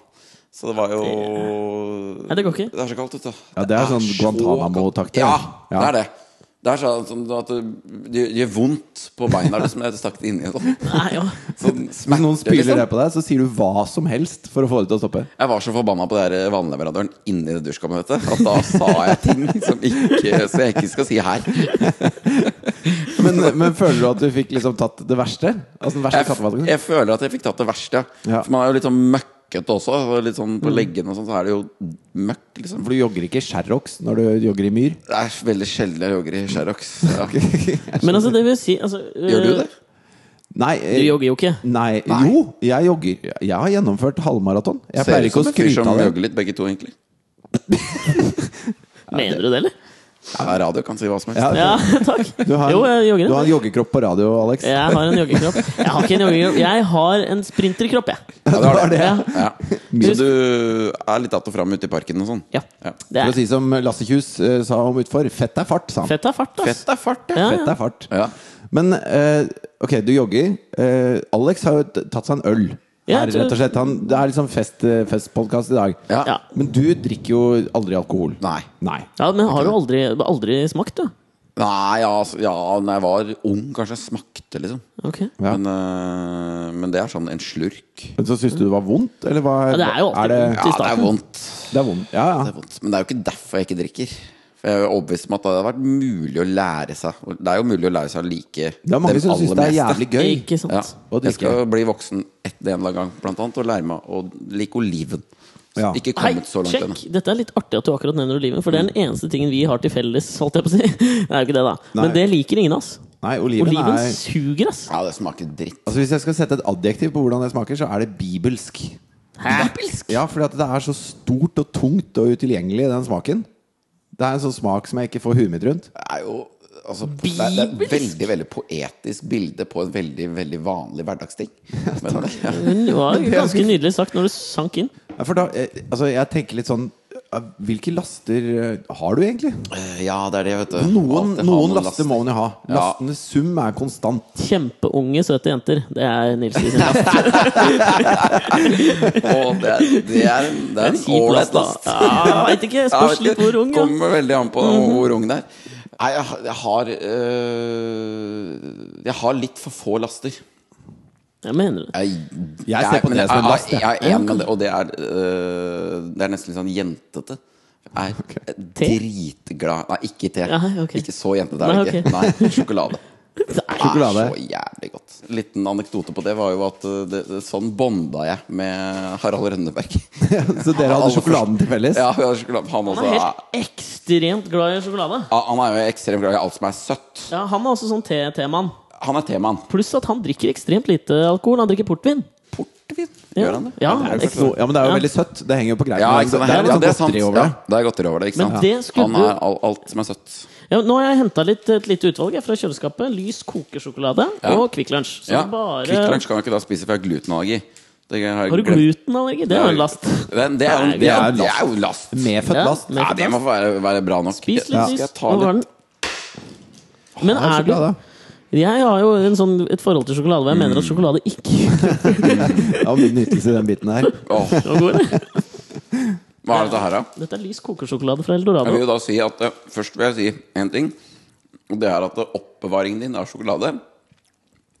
Så det var jo Nei, det går ikke. Det er så kaldt, vet du. Ja, det er sånn så Guantánamo-takter. Ja, Ja. det er det. Det er sånn sånn at det- det gjør vondt på beina. Liksom, jeg stakk det inni og sånn. Nei, ja. Sånn Hvis noen smerte, spyler det liksom. på deg, så sier du hva som helst for å få det til å stoppe. Jeg var så forbanna på den her vannleverandøren inni det dusjkammeret vet du, at da sa jeg ting som ikke, så jeg ikke skal si her. Men, men føler du at du fikk liksom tatt det verste? Altså den verste jeg, f- kattevalget? jeg føler at jeg fikk tatt det verste. Ja. Ja. Mm. For man er jo litt sånn møkkete også. og Litt sånn på leggene og sånn, så er det jo møkk, liksom. For du jogger ikke i Sherrox når du jogger i myr? Det er veldig sjelden jeg jogger i Sherrox. Ja. Men altså, det vil si altså, Gjør du det? Nei, eh, Du jogger jo ikke. nei, jo, jeg jogger. Jeg har gjennomført halvmaraton. Jeg Ser pleier ut ikke som å en fyr skryte som av det. jogger litt, begge to, egentlig. Mener du det, eller? Ja, radio kan si hva som helst. Ja, Ja, takk. du har, Jo, jeg jogger. en- du har en joggekropp på radio, Alex. Jeg har en joggekropp. Jeg har ikke en joggekropp. Jeg har en sprinterkropp, jeg. Ja, det var det. Ja. Ja. Så du er litt att og fram ute i parken og sånn? Ja. Ja. Det For å er si som Lasse Kjus eh, sa om utfor, fett er fart, sa han. fett av fart, ass. Fett er fart, ja. Ja, Fett ja. er fart. Ja. Men eh, ok, du jogger. Eh, Alex har jo t- tatt seg en øl. Ja, Her, du- rett og slett. Han, det er liksom fest, eh, festpodcast i dag. Ja. Ja. Men du drikker jo aldri alkohol. Nei. Nei. Ja, men har du aldri, aldri smakt, du? Nei, ja, altså, ja, når jeg var ung, kanskje jeg smakte, liksom. Ok. Ja. Men, øh, men det er sånn en slurk. Men så syns du det var vondt, eller hva? Ja, det er jo alltid det, vondt. Ja, det er starten. vondt. det er vondt. Ja, Det ja. er vondt. Men det er jo ikke derfor jeg ikke drikker. For Jeg er jo overbevist om at det hadde vært mulig å lære seg. Og Det er jo mulig å lære seg å like Det er mange som syns det er meste. jævlig gøy. Ikke sant? Ja. å drikke. Jeg skal bli voksen et en eller annen gang, blant annet, og lære meg å like oliven. Så Ja. Ikke Hei, kommet så langt sjekk! ennå. Dette er litt artig at du akkurat nevner oliven, for det er Mm. den eneste tingen vi har til felles. Holdt jeg på å si. Det er jo ikke det, da. Men Nei. det liker ingen av oss. Nei, oliven, Oliven er suger, ass. Ja, det smaker dritt. Altså Hvis jeg skal sette et adjektiv på hvordan det smaker, så er det bibelsk. Hæ? Ja, fordi at det er så stort og tungt og utilgjengelig, den smaken. Det er en sånn smak som jeg ikke får huet mitt rundt. Det er jo altså, det er, det er et veldig veldig poetisk bilde på en veldig veldig vanlig hverdagsting. Men, ja. Hun var jo ganske nydelig sagt når du sank inn. Ja, for da, eh, altså jeg tenker litt sånn eh, Hvilke laster eh, har du egentlig? Eh, ja, det er det, vet du. Noen, Alltid ha noen noen laster må man jo ha. Ja. Lastenes sum er konstant. Kjempeunge, søte jenter. Det er Nils i sin last. Å, det, er, det er en det er en Kjip last, ålreit da. last. Ja, Veit ikke. Jeg vet Spørs litt ikke, hvor ung, ja. Mhm. Kommer veldig an på hvor ung det er. Nei, jeg, har- jeg har øh, Jeg har litt for få laster. Jeg mener det. Jeg, Jeg ser på men det som en last, Jeg, jeg. jeg, er en med det, og det er, øh, det er nesten litt sånn jentete. Jeg er dritglad Nei, ikke te. Ja, ok. Ikke så jentete er Nei, det ikke. ok. Nei, sjokolade. Sjokolade. Nei. Det er så jævlig godt. liten anekdote på det var jo at eh, det, det, sånn bonda jeg med Harald Rønneberg. Så dere hadde sjokoladen til felles? Ja, vi har sjokolade- han, Han også, er er helt ekstremt glad i sjokolade. ja, han er jo ekstremt glad i alt som er søtt. Ja, han er også sånn te-temann. Han er temaen. Pluss at han drikker ekstremt lite alkohol. Han drikker portvin. Portvin, Ja. gjør han det? Ja, det er jo ekstremt. klart. Ja, men det er jo Ja. veldig søtt. Det henger jo på greia. Ja, ikke sant? det er litt ja, sånn det er sant. godteri over det. Ja, det er godteri over det, ikke Men sant? det skulle Han er jo- all, alt som er søtt. Ja, nå har jeg henta et lite utvalg jeg, fra kjøleskapet. Lys kokesjokolade Ja. og Kvikk Lunsj. Så Ja, bare Kvikk Lunsj kan jo ikke da spise, for jeg har glutenallergi. Det har jeg Har du glemt. glutenallergi? Det er jo en last. Det, det, er, jo- Nei, det, det er er, en det er jo last. Medfødt Ja, last. med- Ja, det må være, være bra nok. Spis litt Ja. lys. Skal jeg ta Nå var litt den. Men Ja, er du sjokolade. Jeg har jo en sånn, et forhold til sjokolade hvor jeg Mm. mener at sjokolade ikke Det var mye nytelse i den biten her. Åh, er noe god. Hva er dette her, da? Dette er lys kokesjokolade fra Jeg vil Eldorado. jo da si at eh, Først vil jeg si én ting. Og det er at oppbevaringen din av sjokolade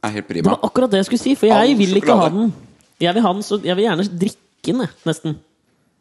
er helt Det prima. var akkurat det jeg skulle si, for All jeg vil ikke ha sjokolade. den. Jeg vil, ha den så jeg vil gjerne drikke den, jeg, nesten.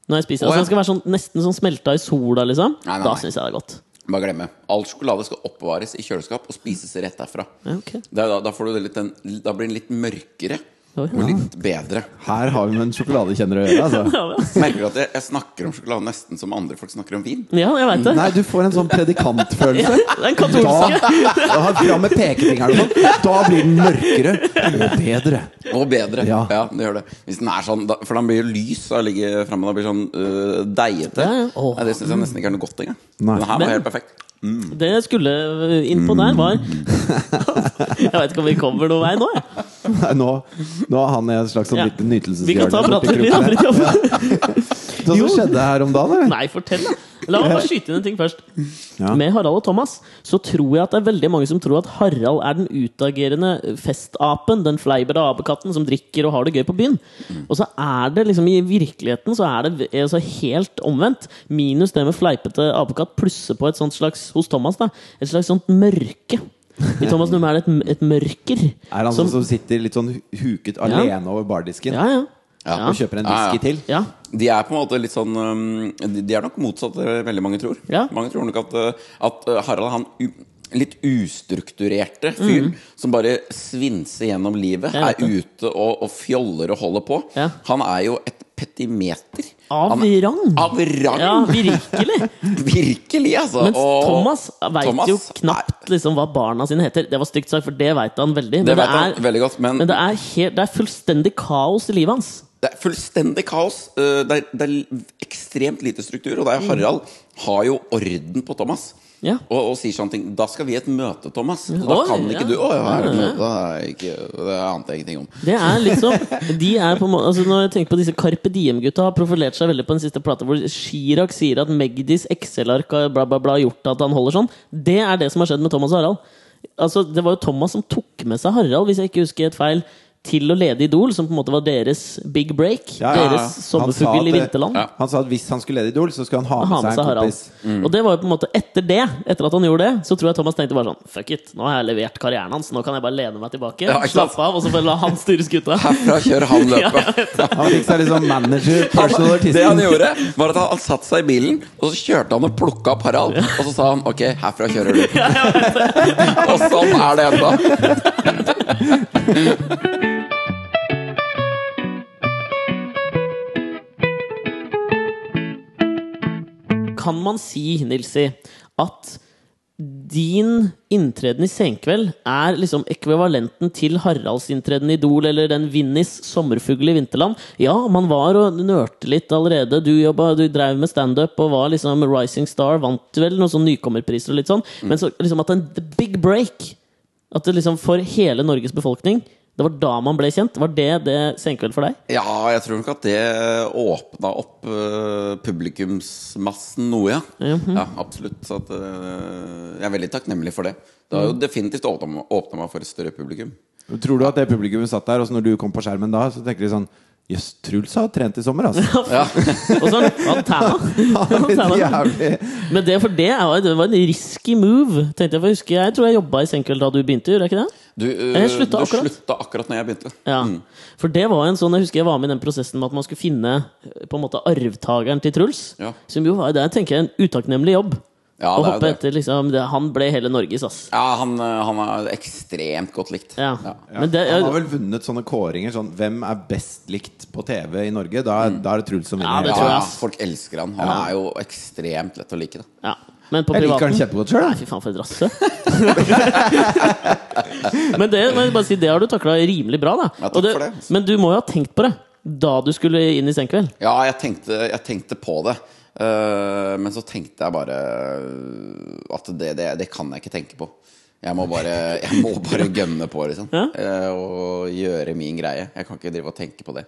Når jeg spiser. Å, ja. Altså, den skal være sånn, nesten sånn smelta i sola, liksom. Nei, nei, Da nei. syns jeg det er godt. Bare glemme. All sjokolade skal oppbevares i kjøleskap og spises rett derfra. Ja, ok. Det er Da, da, får du det litt, den, da blir den litt mørkere Oi. og litt bedre. Her har vi med en sjokoladekjenner å gjøre, altså. Ja, vel. Merker du at jeg, jeg snakker om sjokolade nesten som andre folk snakker om vin? ja jeg veit det. Nei, du får en sånn predikantfølelse. Den katolske. Da, da Fram med pekefingeren og sånn. Da blir den mørkere og bedre. Og bedre. Ja. Ja. det gjør det. Hvis den er sånn, da, for den blir jo lys da ligger fremme, da blir sånn øh, deigete. Ja, ja. Åh. Nei, det syns jeg nesten ikke er noe godt engang. Nei. Den her Men- var helt perfekt. Det jeg skulle eh, inn på der, var Mm. Jeg veit ikke om vi kommer noen vei nå. Jeg. Nei, nå, nå har han i en slags sånn Ja. liten nytelseshjørne. Vi kan ta borti praten litt. kroken her. Fridtjof. Hva Sånn som skjedde her om dagen? eller? Nei, fortell, da. La meg bare skyte inn en ting først. Ja. Med Harald og Thomas så tror jeg at det er veldig mange som tror at Harald er den utagerende festapen, den fleibete apekatten som drikker og har det gøy på byen. Mm. Og så er det liksom i virkeligheten så er det v- altså helt omvendt. Minus det med fleipete apekatt plusser på et sånt slags hos Thomas, da. Et slags sånt mørke. I Thomas Numme er det et, m- et mørker. Er han sånn som sitter litt sånn hu- huket alene over bardisken Ja, ja. og Ja. kjøper en Ja, ja. whisky til? ja. De er på en måte litt sånn øhm, De, de er nok motsatt av det veldig mange tror. Ja. Mange tror nok at, øh, at øh, Harald han u, litt ustrukturerte fyren som bare svinser gjennom livet, Mm. Jeg vet er ute og, og fjoller og holder på. Ja. Han er jo et petimeter. Av Han er- rang. Av rang! Ja, virkelig. Virkelig, altså! Mens Og- Thomas veit Thomas, jo knapt liksom, hva barna sine heter. Det var stygt sagt, for det veit han veldig. Men Det det, vet han er, veldig godt, men, men det, er helt, det er fullstendig kaos i livet hans. det er fullstendig kaos. Eh, Det er, det er ekstremt lite struktur. Og det er Harald har jo orden på Thomas. Mm. Ja. Og, og sier sånne ting. Da skal vi i et møte, Thomas. Og da Oi, kan ja. ikke du Å ja, er det et Ja, ja. møte? Det, er ikke, det ante jeg ingenting om. Det er liksom de er på, en må- altså, Når jeg tenker på disse Carpe Diem-gutta, har profilert seg veldig på den siste plata, hvor Chirag sier at Magdis Excel-ark har bla, bla, bla gjort at han holder sånn. Det er det som har skjedd med Thomas og Harald. Altså, det var jo Thomas som tok med seg Harald, hvis jeg ikke husker helt feil, til å lede Idol, som på en måte var deres big break. Ja, ja, ja. Deres Han sa sommerfugl at, i eh, vinterland. Ja. Han sa at hvis han skulle lede Idol, så skulle han ha med ha med seg seg en Harald. kompis. Mm. Og det var jo på en måte etter det, etter at han gjorde det, så tror jeg Thomas tenkte bare sånn Fuck it, nå har jeg levert karrieren hans, nå kan jeg bare lene meg tilbake, Ja, ikke sant? slappe av, og så bare la han styre skuta. Herfra kjører han løpet. Han fikk seg liksom manager, personal artist. Det han gjorde, var at han satte seg i bilen, og så kjørte han og plukka opp Harald. Og så sa han 'ok, herfra kjører du'. og sånn er det ennå. Kan man si, Nilsi, at din inntreden i Senkveld er liksom ekvivalenten til Haralds inntreden i Idol eller den Vinnis sommerfugl i vinterland. Ja, man var og nørte litt allerede. Du, jobba, du drev med standup og var liksom rising star, vant vel noen sånn nykommerpriser og litt sånn. Men så liksom at en the big break At det liksom for hele Norges befolkning Det var da man ble kjent. Var det det Senkveld for deg? Ja, jeg tror nok at det åpna opp eh, publikumsmassen noe, ja. Mhm. Ja, absolutt. Så at, eh, jeg er veldig takknemlig for det. Det har jo Mm. definitivt åpna åpna meg for et større publikum. Tror du at det publikummet satt der, og så når du kom på skjermen da, så tenker de sånn Jøss, Truls har trent i sommer, altså. Og så han tæna. Han er litt jævlig Men det, for det, er jo- det var en risky move. Tenkte Jeg for jeg husker Jeg tror jeg jobba i Senkveld da du begynte. Gjorde jeg ikke det? Du, eh, Jeg slutta du akkurat. slutta akkurat når jeg begynte. Ja. For det var en sånn Jeg husker jeg var med i den prosessen med at man skulle finne eh, På en måte arvtakeren til Truls. Ja. Som jo var det, tenker jeg, en utakknemlig jobb. Ja, det er og jo hoppe det. etter, liksom. Det, han ble hele Norges, ass. Ja, han, eh, han er ekstremt godt likt. Ja. Ja. Men det, Han har ja, vel vunnet sånne kåringer sånn Hvem er best likt på TV i Norge? Da, da er det Truls som Mm. Ja, vinner. det Ja, tror jeg, ja, ass. folk elsker han. Han er jo ekstremt lett å like. Da. ja. Men på Jeg liker privaten han kjempegodt sjøl. Nei, fy faen, for et rasshøl. men det, men jeg bare si, det har du takla rimelig bra, da. Ja, takk Og for det. altså. Men du må jo ha tenkt på det da du skulle inn i Senkveld. Ja, jeg tenkte, jeg tenkte på det. Eh, men så tenkte jeg bare eh, at det, det, det kan jeg ikke tenke på. Jeg må bare, jeg må bare gønne på, liksom. Eh, og gjøre min greie. Jeg kan ikke drive og tenke på det.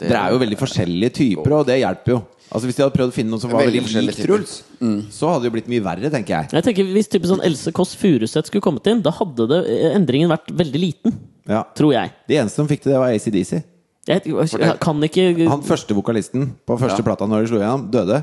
det Dere er jo veldig forskjellige typer, og det hjelper jo. Altså Hvis de hadde prøvd å finne noen som var Veldig veldig forskjellige lik typer. Truls, Mm. så hadde det jo blitt mye verre, tenker jeg. Jeg tenker Hvis type sånn Else Kåss Furuseth skulle kommet inn, da hadde det, eh, endringen vært veldig liten. Ja. Tror jeg. De eneste som fikk til det, var ACDC. Jeg, jeg kan ikke Han første vokalisten på første plata når de slo igjennom, døde.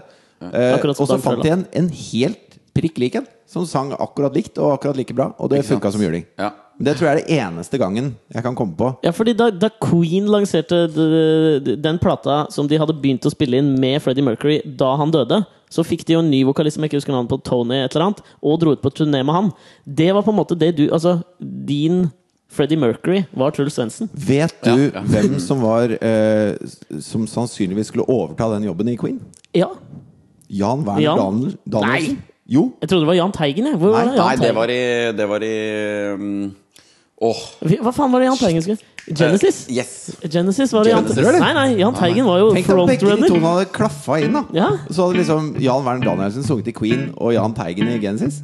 Eh, Akkurat som og så Bamse, fant da. de en, en helt prikk lik en, som sang akkurat likt og akkurat like bra. Og det Ikke sant? funka som juling. Ja. Men Det tror jeg er det eneste gangen jeg kan komme på. Ja, fordi da, da Queen lanserte d- d- den plata som de hadde begynt å spille inn med Freddie Mercury da han døde, så fikk de jo en ny vokalist som jeg ikke husker navnet på, Tony et eller annet, og dro ut på turné med han. Det var på en måte det du Altså, din Freddie Mercury var Truls Svendsen. Vet du Ja, ja. hvem som var eh, Som sannsynligvis skulle overta den jobben i Queen? Ja. Jan Werner Jan? Daniel- Danielsen. Nei. Jo. Jeg trodde det var Jahn Teigen, jeg. Hvor Nei, var det Nei, det Jahn Teigen? var i Det var i um, Åh. Eh, Hva faen var det Jahn Teigen skulle Genesis? Yes. Genesis var det Jahn Genesis, eller? Nei, nei, Jahn Teigen var jo Tenk at begge de to frontrunner. hadde klaffa inn, da. Ja. Så hadde liksom Jan Werner Danielsen sunget i Queen og Jahn Teigen i Genesis.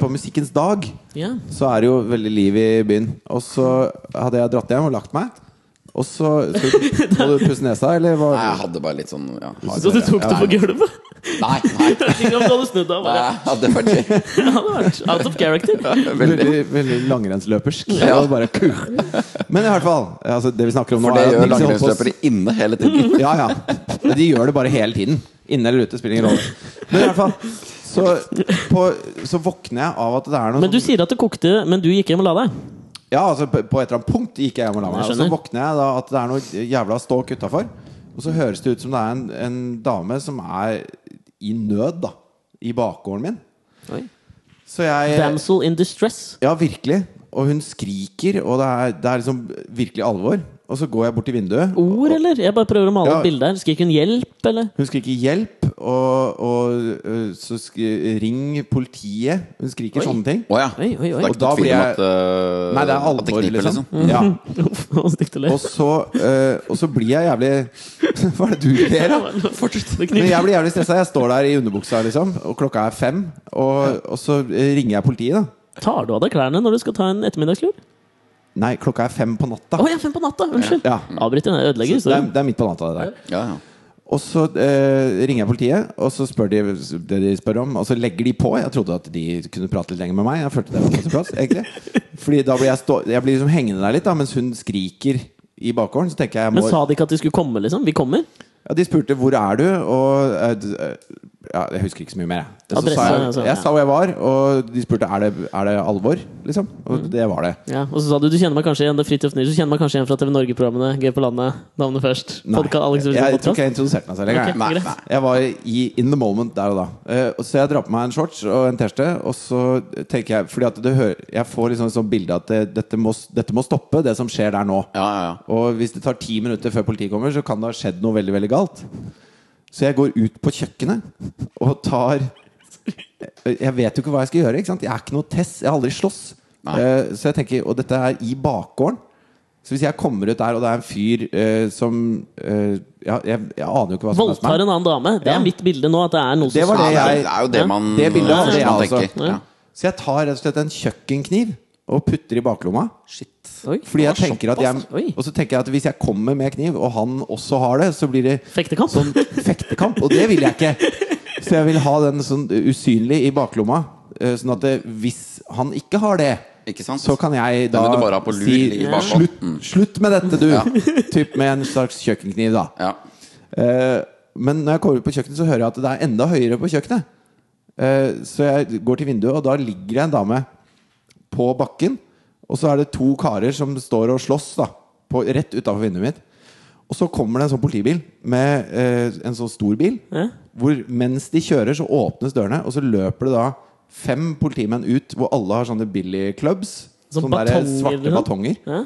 På musikkens dag Ja. så er det jo veldig liv i byen. Og så hadde jeg dratt hjem og lagt meg. Og så skal du, Må du pusse nesa, eller hva? Nei, jeg hadde bare litt sånn ja, hard- Så du tok det på gulvet? Nei, nei. Ikke om du hadde snudd deg og Nei, bare jeg hadde vært Det hadde vært out of character. veldig Veldig, veldig langrennsløpersk. Ja. Det var Bare, Men i hvert fall, altså, det vi snakker om nå For det er at gjør Nixie holdt på å- langrennsløpere inne hele tiden. Ja, ja. Men De gjør det bare hele tiden. Inne eller ute, spiller ingen rolle. Men i hvert fall så, på, så våkner jeg av at det er noe Men du sånn- sier at det kokte, men du gikk hjem og la deg? Ja, altså på på et eller annet punkt gikk jeg hjem og la meg. Jeg Og så skjønner. våkner jeg da at det er noe jævla ståk utafor. Og så høres det ut som det er en, en dame som er i nød, da. I bakgården min. Oi. Så jeg Damsel in distress. Ja, virkelig. Og hun skriker, og det er, det er liksom virkelig alvor. Og så går jeg bort til vinduet. Ord, eller? Jeg bare prøver å male Ja. et bilde her. Skriker hun 'hjelp', eller? Hun skriker 'hjelp', og, og øh, så skri, 'ring politiet'. Hun skriker Oi. sånne ting. Å ja. Oi, Det oi, oi. er Og ikke da tvil blir om jeg- at eh, Nei, det er at det alvor, kniper, liksom. Ja. Uff, nå stikk til det. Og, så, øh, og så blir jeg jævlig Hva er det du ler av? Fortsett. Det Men kniper. jeg blir jævlig stressa. Jeg står der i underbuksa, liksom, og klokka er fem. Og, og så øh, ringer jeg politiet, da. Tar du av deg klærne når du skal ta en ettermiddagslur? Nei, klokka er fem på natta. Å, jeg er fem på natta! Unnskyld. Ah. Ja. Avbryter den Så det, ødelegger er, historien. det er midt på natta, det der. Ja, ja. Og så eh, ringer jeg politiet, og så spør de det de spør om. Og så legger de på. Jeg trodde at de kunne prate litt lenger med meg. Jeg følte det var på sin plass, egentlig. Fordi da blir jeg, stå, jeg blir liksom hengende der litt, da, mens hun skriker i bakgården. Så tenker jeg, jeg Men må sa de ikke at de skulle komme, liksom? Vi kommer. ja, De spurte 'hvor er du?' og eh, d- eh, ja, Jeg husker ikke så mye mer, jeg. Så Adresse, sa jeg, altså, ja. jeg sa hvor jeg var, og de spurte er det er det alvor, liksom. Og Mm. det var det. Ja. Og så sa du du kjenner meg kanskje igjen det er Fridtjof Nilsen, du kjenner meg kanskje igjen fra TV Norge-programmene Gøy på landet, Navnet først. Nei, Podka, Alex jeg, Wilson tror ikke podcast. jeg introduserte meg selv engang. Ok, jeg. Nei, greit. nei. Jeg var i in the moment der og da. Eh, og så jeg drar på meg en shorts og en T-skjorte, og så tenker jeg Fordi at det hø- jeg får liksom et sånt bilde at det, dette, må, dette må stoppe, det som skjer der nå. Ja, ja, ja. Og hvis det tar ti minutter før politiet kommer, så kan det ha skjedd noe veldig, veldig galt. Så jeg går ut på kjøkkenet og tar eh, Jeg vet jo ikke hva jeg skal gjøre. Ikke sant? Jeg er ikke noe Tess. Jeg har aldri slåss. Nei. Eh, så jeg tenker, Og dette er i bakgården. Så hvis jeg kommer ut der, og det er en fyr eh, som eh, ja, jeg, jeg aner jo ikke hva som Voldtar en annen dame. Det Ja. er mitt bilde nå, at det er noe Det som var Ja, det det, er, jeg- det er jo det Ja. man Det bildet altså. hadde jeg man også. tenker. Ja. Ja. Så jeg tar rett og slett en kjøkkenkniv og putter i baklomma. Shit. Oi. Fordi jeg Det var tenker at jeg, såpass? Oi. og så tenker jeg at hvis jeg kommer med kniv, og han også har det, så blir det Fektekamp. sånn fektekamp. Og det vil jeg ikke. Så jeg vil ha den sånn usynlig i baklomma. eh, Sånn at det, hvis han ikke har det, Ikke sant? så kan jeg da Den vil du bare ha på lur si i bakhånd. slutt, slutt med dette, du! Typ med en slags kjøkkenkniv, da. Ja. Eh, Men når jeg kommer ut på kjøkkenet, så hører jeg at det er enda høyere på kjøkkenet. Eh, Så jeg går til vinduet, og da ligger det en dame på bakken. Og så er det to karer som står og slåss da på, rett utafor vinduet mitt. Og så kommer det en sånn politibil med eh, en sånn stor bil. Ja. Hvor mens de kjører, så åpnes dørene, og så løper det da fem politimenn ut, hvor alle har sånne billy clubs. Sånn sånne der batonger, svarte liksom? batonger. Ja.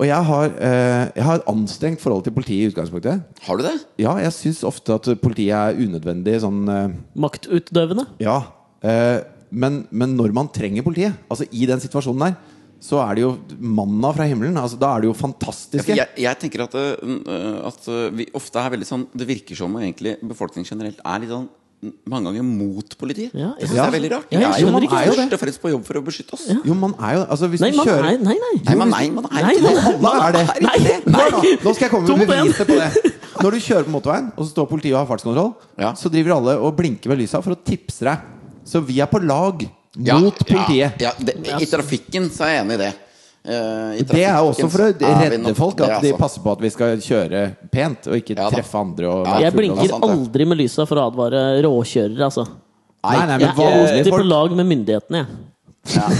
Og jeg har, eh, jeg har et anstrengt forhold til politiet i utgangspunktet. Har du det? Ja, jeg syns ofte at politiet er unødvendig sånn eh, Maktutdøvende. Ja. eh, men, men når man trenger politiet, altså i den situasjonen der, så er det jo manna fra himmelen. Altså, da er det jo fantastiske. Jeg, jeg tenker at, øh, øh, at øh, vi ofte er veldig sånn Det virker som om egentlig befolkningen generelt er litt sånn øh, mange ganger mot politiet. Ja, det jeg- synes jeg er veldig rart. Ja, jeg Vi er jo, skjønner man ikke er jo det. først og fremst på jobb for å beskytte oss. Jo, man er jo altså, hvis Nei, du man kjører er Nei, nei. Nei, man, nei, man er Nei, ikke det. nei, Alle Alle er det. ikke Nei. det. Nei, da, nå skal jeg komme med Tom Ben. beviset på det. Når du kjører på motorveien, og så står politiet og har fartskontroll, Ja. så driver alle og blinker med lysa for å tipse deg. Så vi er på lag mot Ja, politiet. Ja, ja, det, I trafikken så er jeg enig i det. Eh, i Det er jo også trafikken for å så er vi redde nok- folk, det er at de altså- passer på at vi skal kjøre pent, og ikke Ja da. treffe andre. Og Ja, være Jeg fulle og blinker sant, det. aldri med lysa for å advare råkjørere, altså. sånn. Nei, nei, Jeg men vanlige er på folk lag med myndighetene, jeg.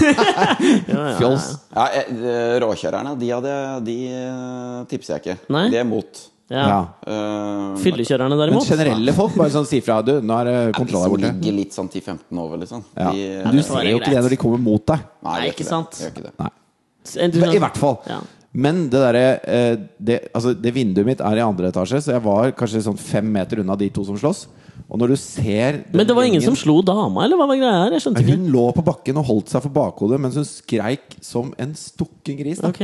Ja, ja, Fjols. Ja, eh, råkjørerne, de, hadde, de eh, tipser jeg ikke. Nei. De er mot. ja. Ja. Uh, Fyllekjørerne, Men derimot. generelle folk bare sånn sier fra. Du, nå er eh, kontroll her som borte. ligger litt sånn 10-15 over, liksom. Ja. De, Du det får ser være jo ikke det greit. når de kommer mot deg. Nei, Nei, gjør ikke det. sant? Gjør ikke det. Nei. Du Men skjønner- I hvert fall. Ja. Men det derre eh, det, altså, det vinduet mitt er i andre etasje, så jeg var kanskje sånn fem meter unna de to som slåss. Og når du ser den Men det var ingen gjengen- som slo dama, eller hva var greia her? Jeg skjønte ikke. Hun lå på bakken og holdt seg for bakhodet mens hun skreik som en stukken gris. Da. Ok.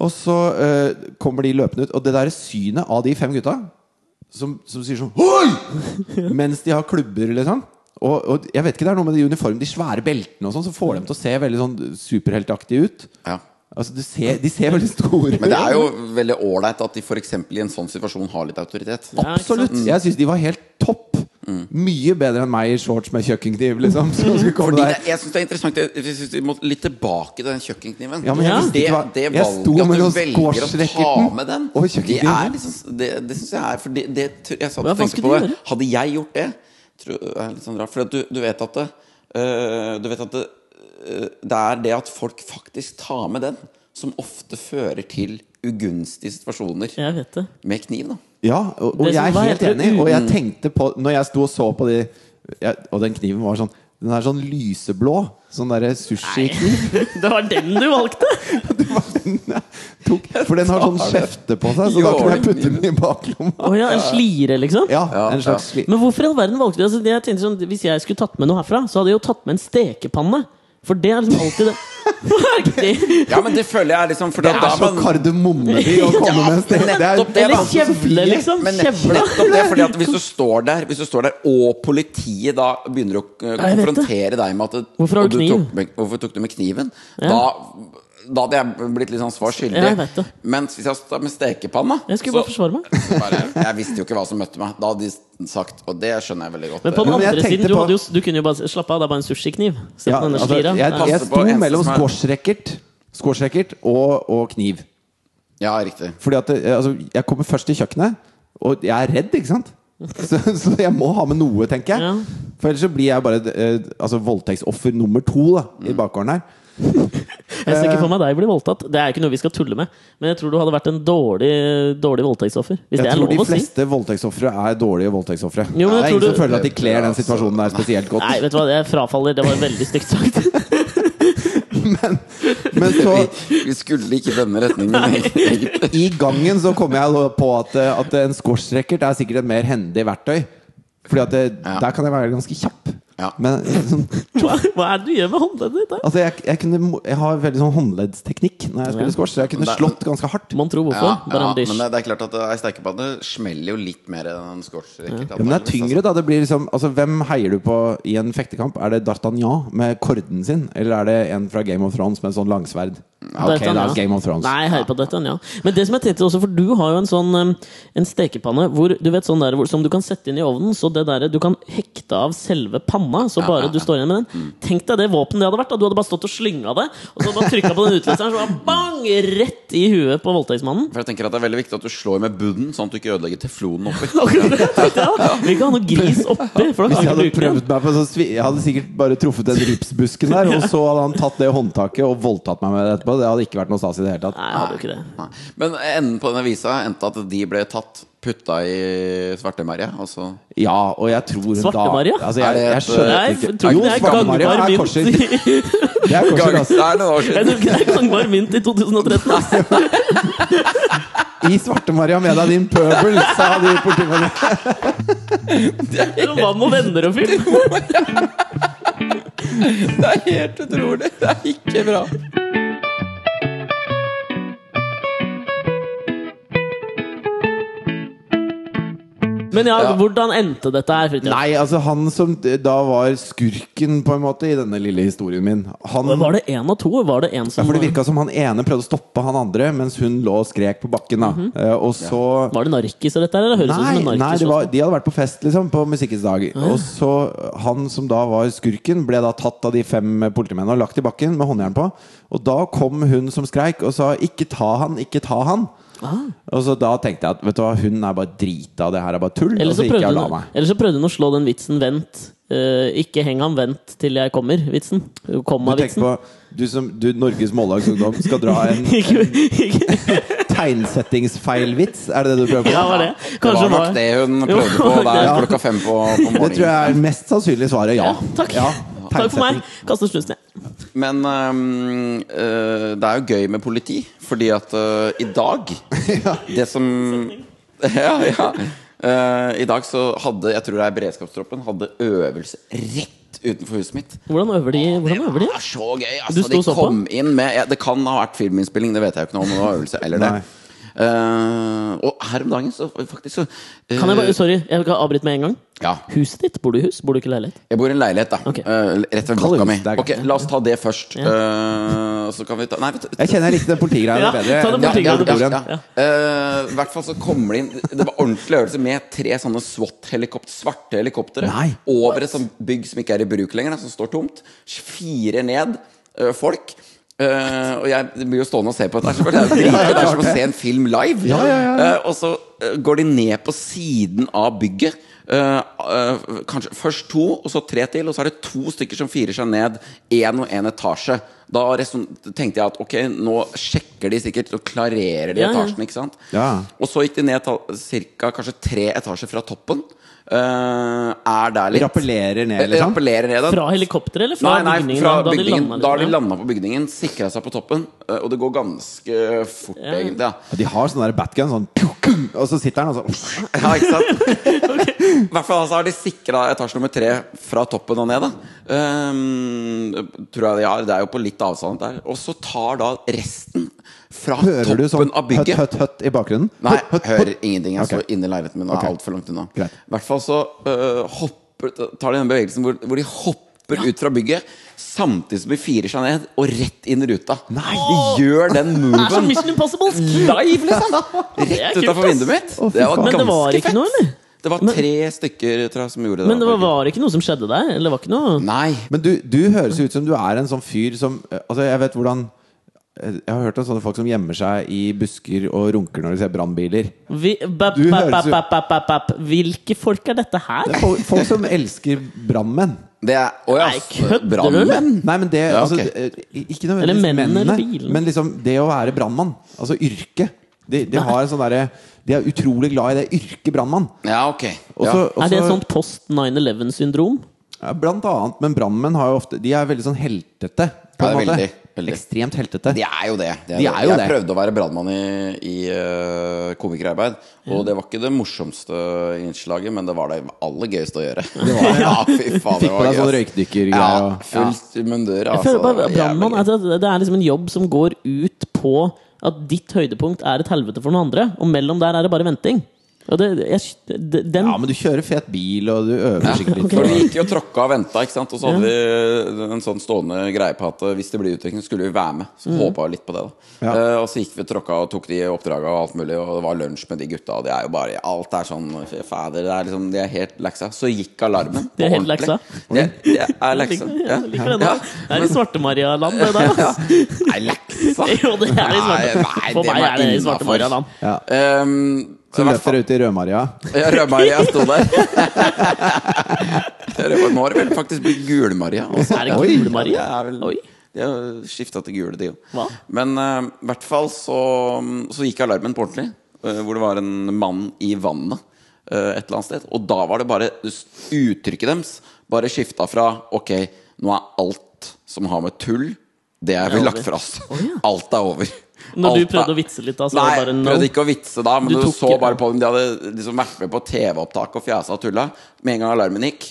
Og så eh, kommer de løpende ut, og det derre synet av de fem gutta som, som sier sånn Hoi! Mens de har klubber, liksom. Og, og jeg vet ikke, det er noe med de uniformene, de svære beltene og sånn, som får dem til å se veldig sånn superheltaktig ut. Ja. Altså, du ser, de ser veldig store ut. Men det er jo veldig ålreit at de f.eks. i en sånn situasjon har litt autoritet. Ja, ikke sant? Absolutt. Jeg syns de var helt topp. Mm. Mye bedre enn meg i shorts med kjøkkenkniv, liksom. Som skulle komme Fordi det, der. jeg syns det er interessant jeg- Jeg synes Vi må litt tilbake til den kjøkkenkniven. Ja, men jeg visste det, ikke hva- det jeg valget sto at mellom du velger å ta squash-racketen med den, og det, kjøkkenkniven. er liksom, det, det syns jeg er For det, det tr- jeg satt Hva og tenkte skulle på du det. gjøre? Hadde jeg gjort det tror, jeg er litt sånn rart, For at du, du vet at det, øh, Du vet at det, øh, det er det at folk faktisk tar med den, som ofte fører til ugunstige situasjoner Jeg vet det. med kniv. da Ja, og, og Det som jeg er var helt helt enig. Og jeg tenkte på Når jeg sto og så på de jeg, Og den kniven var sånn Den er sånn lyseblå. Sånn derre sushikniv. Det var den du valgte! Det var den jeg tok, For den har sånn kjefte på seg, så da kunne jeg putte den i baklomma. Å ja, en slire, liksom? Ja, Ja, en slags sli- Men hvorfor i all verden valgte vi altså, jeg tenkte sånn, Hvis jeg skulle tatt med noe herfra, så hadde jeg jo tatt med en stekepanne. For det er liksom alltid det. Hva er det ikke det? Ja, men det føler jeg er liksom for Det da- da er så man- kardemommeby å komme med en sted. Det er, nettopp det, da. Eller kjevle, liksom. Men nett- Kjevle. nettopp det, fordi at hvis du står der Hvis du står der og politiet da begynner å eh, jeg vet konfrontere deg med at Hvorfor har og du du kniv? Tok med, hvorfor tok du med kniven? Da, da hadde jeg blitt litt sånn svar skyldig. Ja, jeg vet det. Mens hvis jeg står med stekepanna Jeg skulle bare så- forsvare meg. bare, Jeg visste jo ikke hva som møtte meg. Da hadde de sagt Og det skjønner jeg veldig godt. Men på den Ja, men jeg andre siden, tenkte du, på- hadde jo, du kunne jo bare Slapp av, det er bare en sushikniv. Se på ja, denne altså, slira. jeg, Ja. jeg Passe på sto en som mellom er- squashracket squashracket og, og kniv. ja, riktig. Fordi at det, altså, jeg kommer først til kjøkkenet, og jeg er redd, ikke sant? Så, så jeg må ha med noe, tenker jeg. Ja. For ellers så blir jeg bare eh, altså, voldtektsoffer nummer to da, i Mm. bakgården her. Jeg ser eh, ikke for meg deg bli voldtatt. Det er ikke noe vi skal tulle med. Men jeg tror du hadde vært en dårlig, dårlig voldtektsoffer. Hvis det Jeg er tror lov de å si. fleste voldtektsofre er dårlige voldtektsofre. Det Jo, men er jeg tror ingen som du- altså. føler at de kler den situasjonen der spesielt godt. Nei, vet du hva, jeg frafaller. Det var veldig stygt sagt. Men så Vi, vi skulle ikke i denne retningen. i gangen så kom jeg da på at, eh, at en squashracket er sikkert et mer hendig verktøy. Fordi at det, Ja. der kan jeg være ganske kjapp. Ja. Men sånn, Hva, hva er det du gjør med håndleddet ditt? da? altså jeg, jeg, kunne, jeg har veldig sånn håndleddsteknikk når jeg Ja. spiller squash. Så jeg kunne Det- slått ganske hardt. Mon tro hvorfor? ja, Bare en dysj. men det, det er klart at eh, ei stekepanne smeller jo litt mer enn en skorstrekk. Ja, men det er sånn. tyngre, da. Det blir liksom, altså, hvem heier du på i en fektekamp? Er det D'Artagnan med korden sin, eller er det en fra Game of Thrones med en sånn langsverd? Ja, Ok, Dette, det ja. er Game of Thrones. Nei, jeg hører på dette, ja. Men det som jeg tenkte også, for du har jo en sånn um, En stekepanne hvor, du vet, sånn der, hvor, som du kan sette inn i ovnen, så det der, du kan hekte av selve hånda, så bare du står igjen med den. Mm. Tenk deg det våpenet det hadde vært. Da. Du hadde bare stått og slynga det, og så bare trykka på den utløseren, så bare bang! Rett i huet på voldtektsmannen. For jeg tenker at Det er veldig viktig at du slår med bunnen, sånn at du ikke ødelegger teflonen oppi. Akkurat det tenkte jeg da. Vil ikke ha noe gris oppi, for da Hvis jeg kan du hadde ikke bruke den. prøvd meg på sånn svi- Jeg hadde sikkert bare truffet den ripsbusken der, og så hadde han tatt det håndtaket og voldtatt meg med det etterpå. Det hadde ikke vært noe stas i det hele tatt. Nei, jeg hadde jo ikke det. Nei. Men enden på denne visa endte at de ble tatt, putta i svartemerja. Og så Ja, og jeg tror hun da Svarte-Maria? Er Altså, jeg, det jeg et- skjønner Nei, ikke jeg tror Jo, ikke det er Svarte-Maria gangbar er mynt. korser. Det er Gang, korser, det altså. er noen år Jeg siden. tror ikke det er gangbar mynt i 2013. ass. I Svarte-Maria med deg, din pøbel, sa de i politiet. Det er Vann og venner og film. Det er helt utrolig. Det er ikke bra. Men ja, Ja. hvordan endte dette her? Fritjof? Nei, altså han som da var skurken, på en måte, i denne lille historien min Han Var det én av to? Var det en ja, som for Det virka som han ene prøvde å stoppe han andre, mens hun lå og skrek på bakken. da Eh, Og så Var det narkiser, dette her? eller? Høres ut Nei, som en nei narkis. det var, de hadde vært på fest liksom, på Musikkens dag. Og så eh, Han som da var skurken, ble da tatt av de fem eh, politimennene og lagt i bakken med håndjern på. Og da kom hun som skreik og sa 'ikke ta han, ikke ta han'. Ah. Og så da tenkte jeg at vet du hva, hun er bare drita, det her er bare tull. Eller Og så, så gikk altså, jeg prøvde og la hun, meg. eller så prøvde hun å slå den vitsen 'vent'. eh, ikke heng ham, vent til jeg kommer-vitsen. Du tenker Komma-vitsen. på du som du, Norges Mållagsungdom skal dra en Ikke, ikke, tegnsettingsfeilvits? Er det det du prøver på? ja, var det. Det Kanskje var nok det hun prøvde Jo, på der ja. klokka fem på, på Det tror morgenen. jeg er mest sannsynlig svaret ja. Ja, takk. Ja, Takk for meg. tegnsetting. Kaster snusen, jeg. Men øhm, øh, det er jo gøy med politi, fordi at øh, i dag Det som Ja, ja. Øh, I dag så hadde jeg tror det er beredskapstroppen hadde øvelse rett utenfor huset mitt. Hvordan øver de? Hvordan øver de? Det var så gøy! Du Altså, sto de og så på? kom inn med ja, Det kan ha vært filminnspilling, det vet jeg jo ikke noe om. Det var øvelse eller det. Nei. Eh, og her om dagen, så faktisk så eh, Kan jeg bare, sorry, jeg kan avbryte med en gang. Ja. Huset ditt? Bor du i hus? Bor du ikke i leilighet? Jeg bor i en leilighet, da. Ok. Eh, rett ved Kall det blokka hus, mi. det er greit. Ok, La oss ta det først. Eh, så kan vi ta Nei, vet du Jeg kjenner jeg likte den politigreia Ja, bedre. ta den enn politigreia den du- historien. Ja. Eh, I hvert fall så kommer det inn Det var ordentlig øvelse med tre sånne SWAT-helikopter svarte helikoptre Nei. over et sånt bygg som ikke er i bruk lenger, da, som står tomt. Fire ned eh, folk. Eh, og jeg blir jo stående og se på dette. her, selvfølgelig. Det er, jo dritgøy. det er som å se en film live. Ja, ja, ja, Eh, og så eh, går de ned på siden av bygget. Eh, eh, kanskje Først to, og så tre til, og så er det to stykker som firer seg ned. Én og én etasje. Da reson tenkte jeg at ok, nå sjekker de sikkert og klarerer de Ja, ja. etasjen. ikke sant? Ja. Og så gikk de ned ta- cirka, kanskje tre etasjer fra toppen. Eh, er der litt. Rappellerer ned, Eh, liksom? Rappellerer ned da. Fra helikopteret, eller fra Nei, nei, bygningen? fra da de bygningen. landet, Da har de liksom? landa på bygningen, sikra seg på toppen. eh, Og det går ganske fort, egentlig. Ja. Og De har sånn der batgun, sånn pjukum, Og så sitter han og så Ja, ikke sant? I hvert fall altså, har de sikra etasje nummer tre fra toppen og ned. Da. Ehm, tror jeg de har. Det er jo på litt avstand der. Og så tar da resten fra Hører du toppen sånn av høtt, bygget høtt, høtt i bakgrunnen? Nei, Høtt, høtt, hører høtt. ingenting. Jeg står Ok. inne i leiligheten min og er altfor langt unna. Greit. I hvert fall så øh, hopper, tar de den bevegelsen hvor, hvor de hopper ut fra bygget, samtidig som de firer seg ned og rett inn i ruta. Nei. De gjør den Det er som moven Mission Impossible! live, liksom! Det er Rett kult, utafor ass. vinduet mitt. Å, fy Det var faen. ganske Men det var ikke fett. noe, eller? Det var tre stykker tror jeg, som gjorde det. Men det da. var, var ikke noe som skjedde der? Eller det var ikke noe Nei. Men du, du høres ut som du er en sånn fyr som eh, Altså, jeg vet hvordan eh, Jeg har hørt om sånne folk som gjemmer seg i busker og runker når de ser brannbiler. Vi, bap, Du bap, høres bap, jo- bap, bap, bap, bap. Hvilke folk er dette her? Det er folk, folk som elsker brannmenn. Det er Å ja, Nei, kødder du, brannmenn? Nei, men det Ja, ok. altså, eh, Ikke nødvendigvis Eller mennene mennene, eller bilen. men liksom det å være brannmann. Altså yrket. De, de, har en sånn derre- de er utrolig glad i det yrket brannmann. Ja, ok. Og Ja. så- og Er sånn- det et så- sånt post 9-11-syndrom? Ja, blant annet, men brannmenn har jo ofte De er veldig sånn heltete. På Ja, en måte. veldig, veldig. Ekstremt heltete. De er jo det. De er jo jeg det. prøvde å være brannmann i, i eh, komikerarbeid, og det var ikke det morsomste innslaget, men det var det aller gøyeste å gjøre. ja, fy faen, det Fikk på var deg gøy. sånn ass. røykdykkergreier. Ja, og- fullt altså. mundør. Jeg føler bare brandmann er det, det er liksom en jobb som går ut på at ditt høydepunkt er et helvete for noen andre, og mellom der er det bare venting. Og det, jeg, det, den Ja, men du kjører fet bil, og du øver sikkert litt. For vi gikk jo og tråkka og venta, ikke sant? og så hadde vi en sånn stående greie på at hvis det blir utvikling, så skulle vi være med. Mm. Så håpa vi litt på det, da. Ja. Eh, og så gikk vi og tråkka og tok de oppdraga og alt mulig, og det var lunsj med de gutta, og det er jo bare Alt er sånn fy Fader, det er liksom De er helt leksa. Så gikk alarmen. De er helt leksa? De er, de er leksa. Ja. Jeg liker det da. Det er i Svartemaria-land, det der. altså. ass. Er leksa? Jo, det er det i svarte. Nei, nei, For det var meg er det i innenfor. Svartemaria-land. Ja. Um, Så løp dere ut i Rødmaria. Ja, Rød-Maria sto der. Rød- Nå har det vel faktisk blitt Gul-Maria altså. også. Er det Oi. Gule-Maria? Ja, det er vel- Oi. De har skifta til gule, de òg. Hva? Men eh, i hvert fall så, så gikk alarmen på ordentlig, eh, hvor det var en mann i vannet eh, et eller annet sted. Og da var det bare uttrykket deres bare skifta fra ok, nå er alt som har med tull det har vi Det er lagt over. fra oss. ja. Alt er over. Når Alt du er- prøvde å vitse litt, da, så var Nei, det bare no. prøvde ikke å vitse da, men Du du, tok så ikke- bare på dem. De hadde liksom vært med på TV-opptak og fjasa og tulla. Med en gang alarmen gikk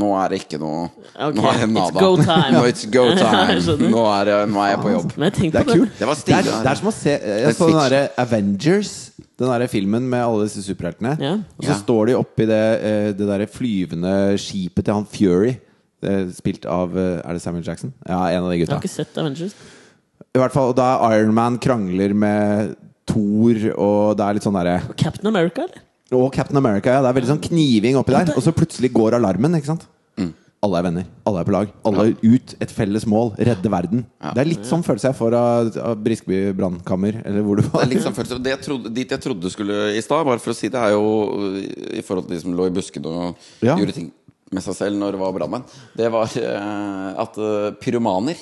Nå er det ikke noe Ok, Nå er det it's nada. go time. Nå, it's go Jeg skjønner. time. nå, er, det- nå er jeg på jobb. Men jeg Det tenkte er på det. kult. Det var Det stilig. er, det er som å se Jeg så den derre Avengers. Den derre filmen med alle disse superheltene. Ja. Og Ja. så står de oppi det, eh, det derre flyvende skipet til han Fury. eh, Spilt av eh, Er det Samuel Jackson? Ja, en av de Jeg gutta. har ikke sett Avengers. I hvert fall, Og da Ironman krangler med Thor, og det er litt sånn derre Captain America, eller? Og Captain America, ja. Det er veldig sånn kniving oppi der. Og så plutselig går alarmen, ikke sant. Mm. Alle er venner. Alle er på lag. Alle er ut. Et felles mål. Redde verden. Det er litt sånn følelse jeg får av, av Briskeby brannkammer, eller hvor du Det var. er liksom følelse det jeg trodde, Dit jeg trodde du skulle i stad, bare for å si det, er jo øh, i forhold til de som lå i buskene og Ja. gjorde ting med seg selv når det var brannmenn, det var eh, at eh, pyromaner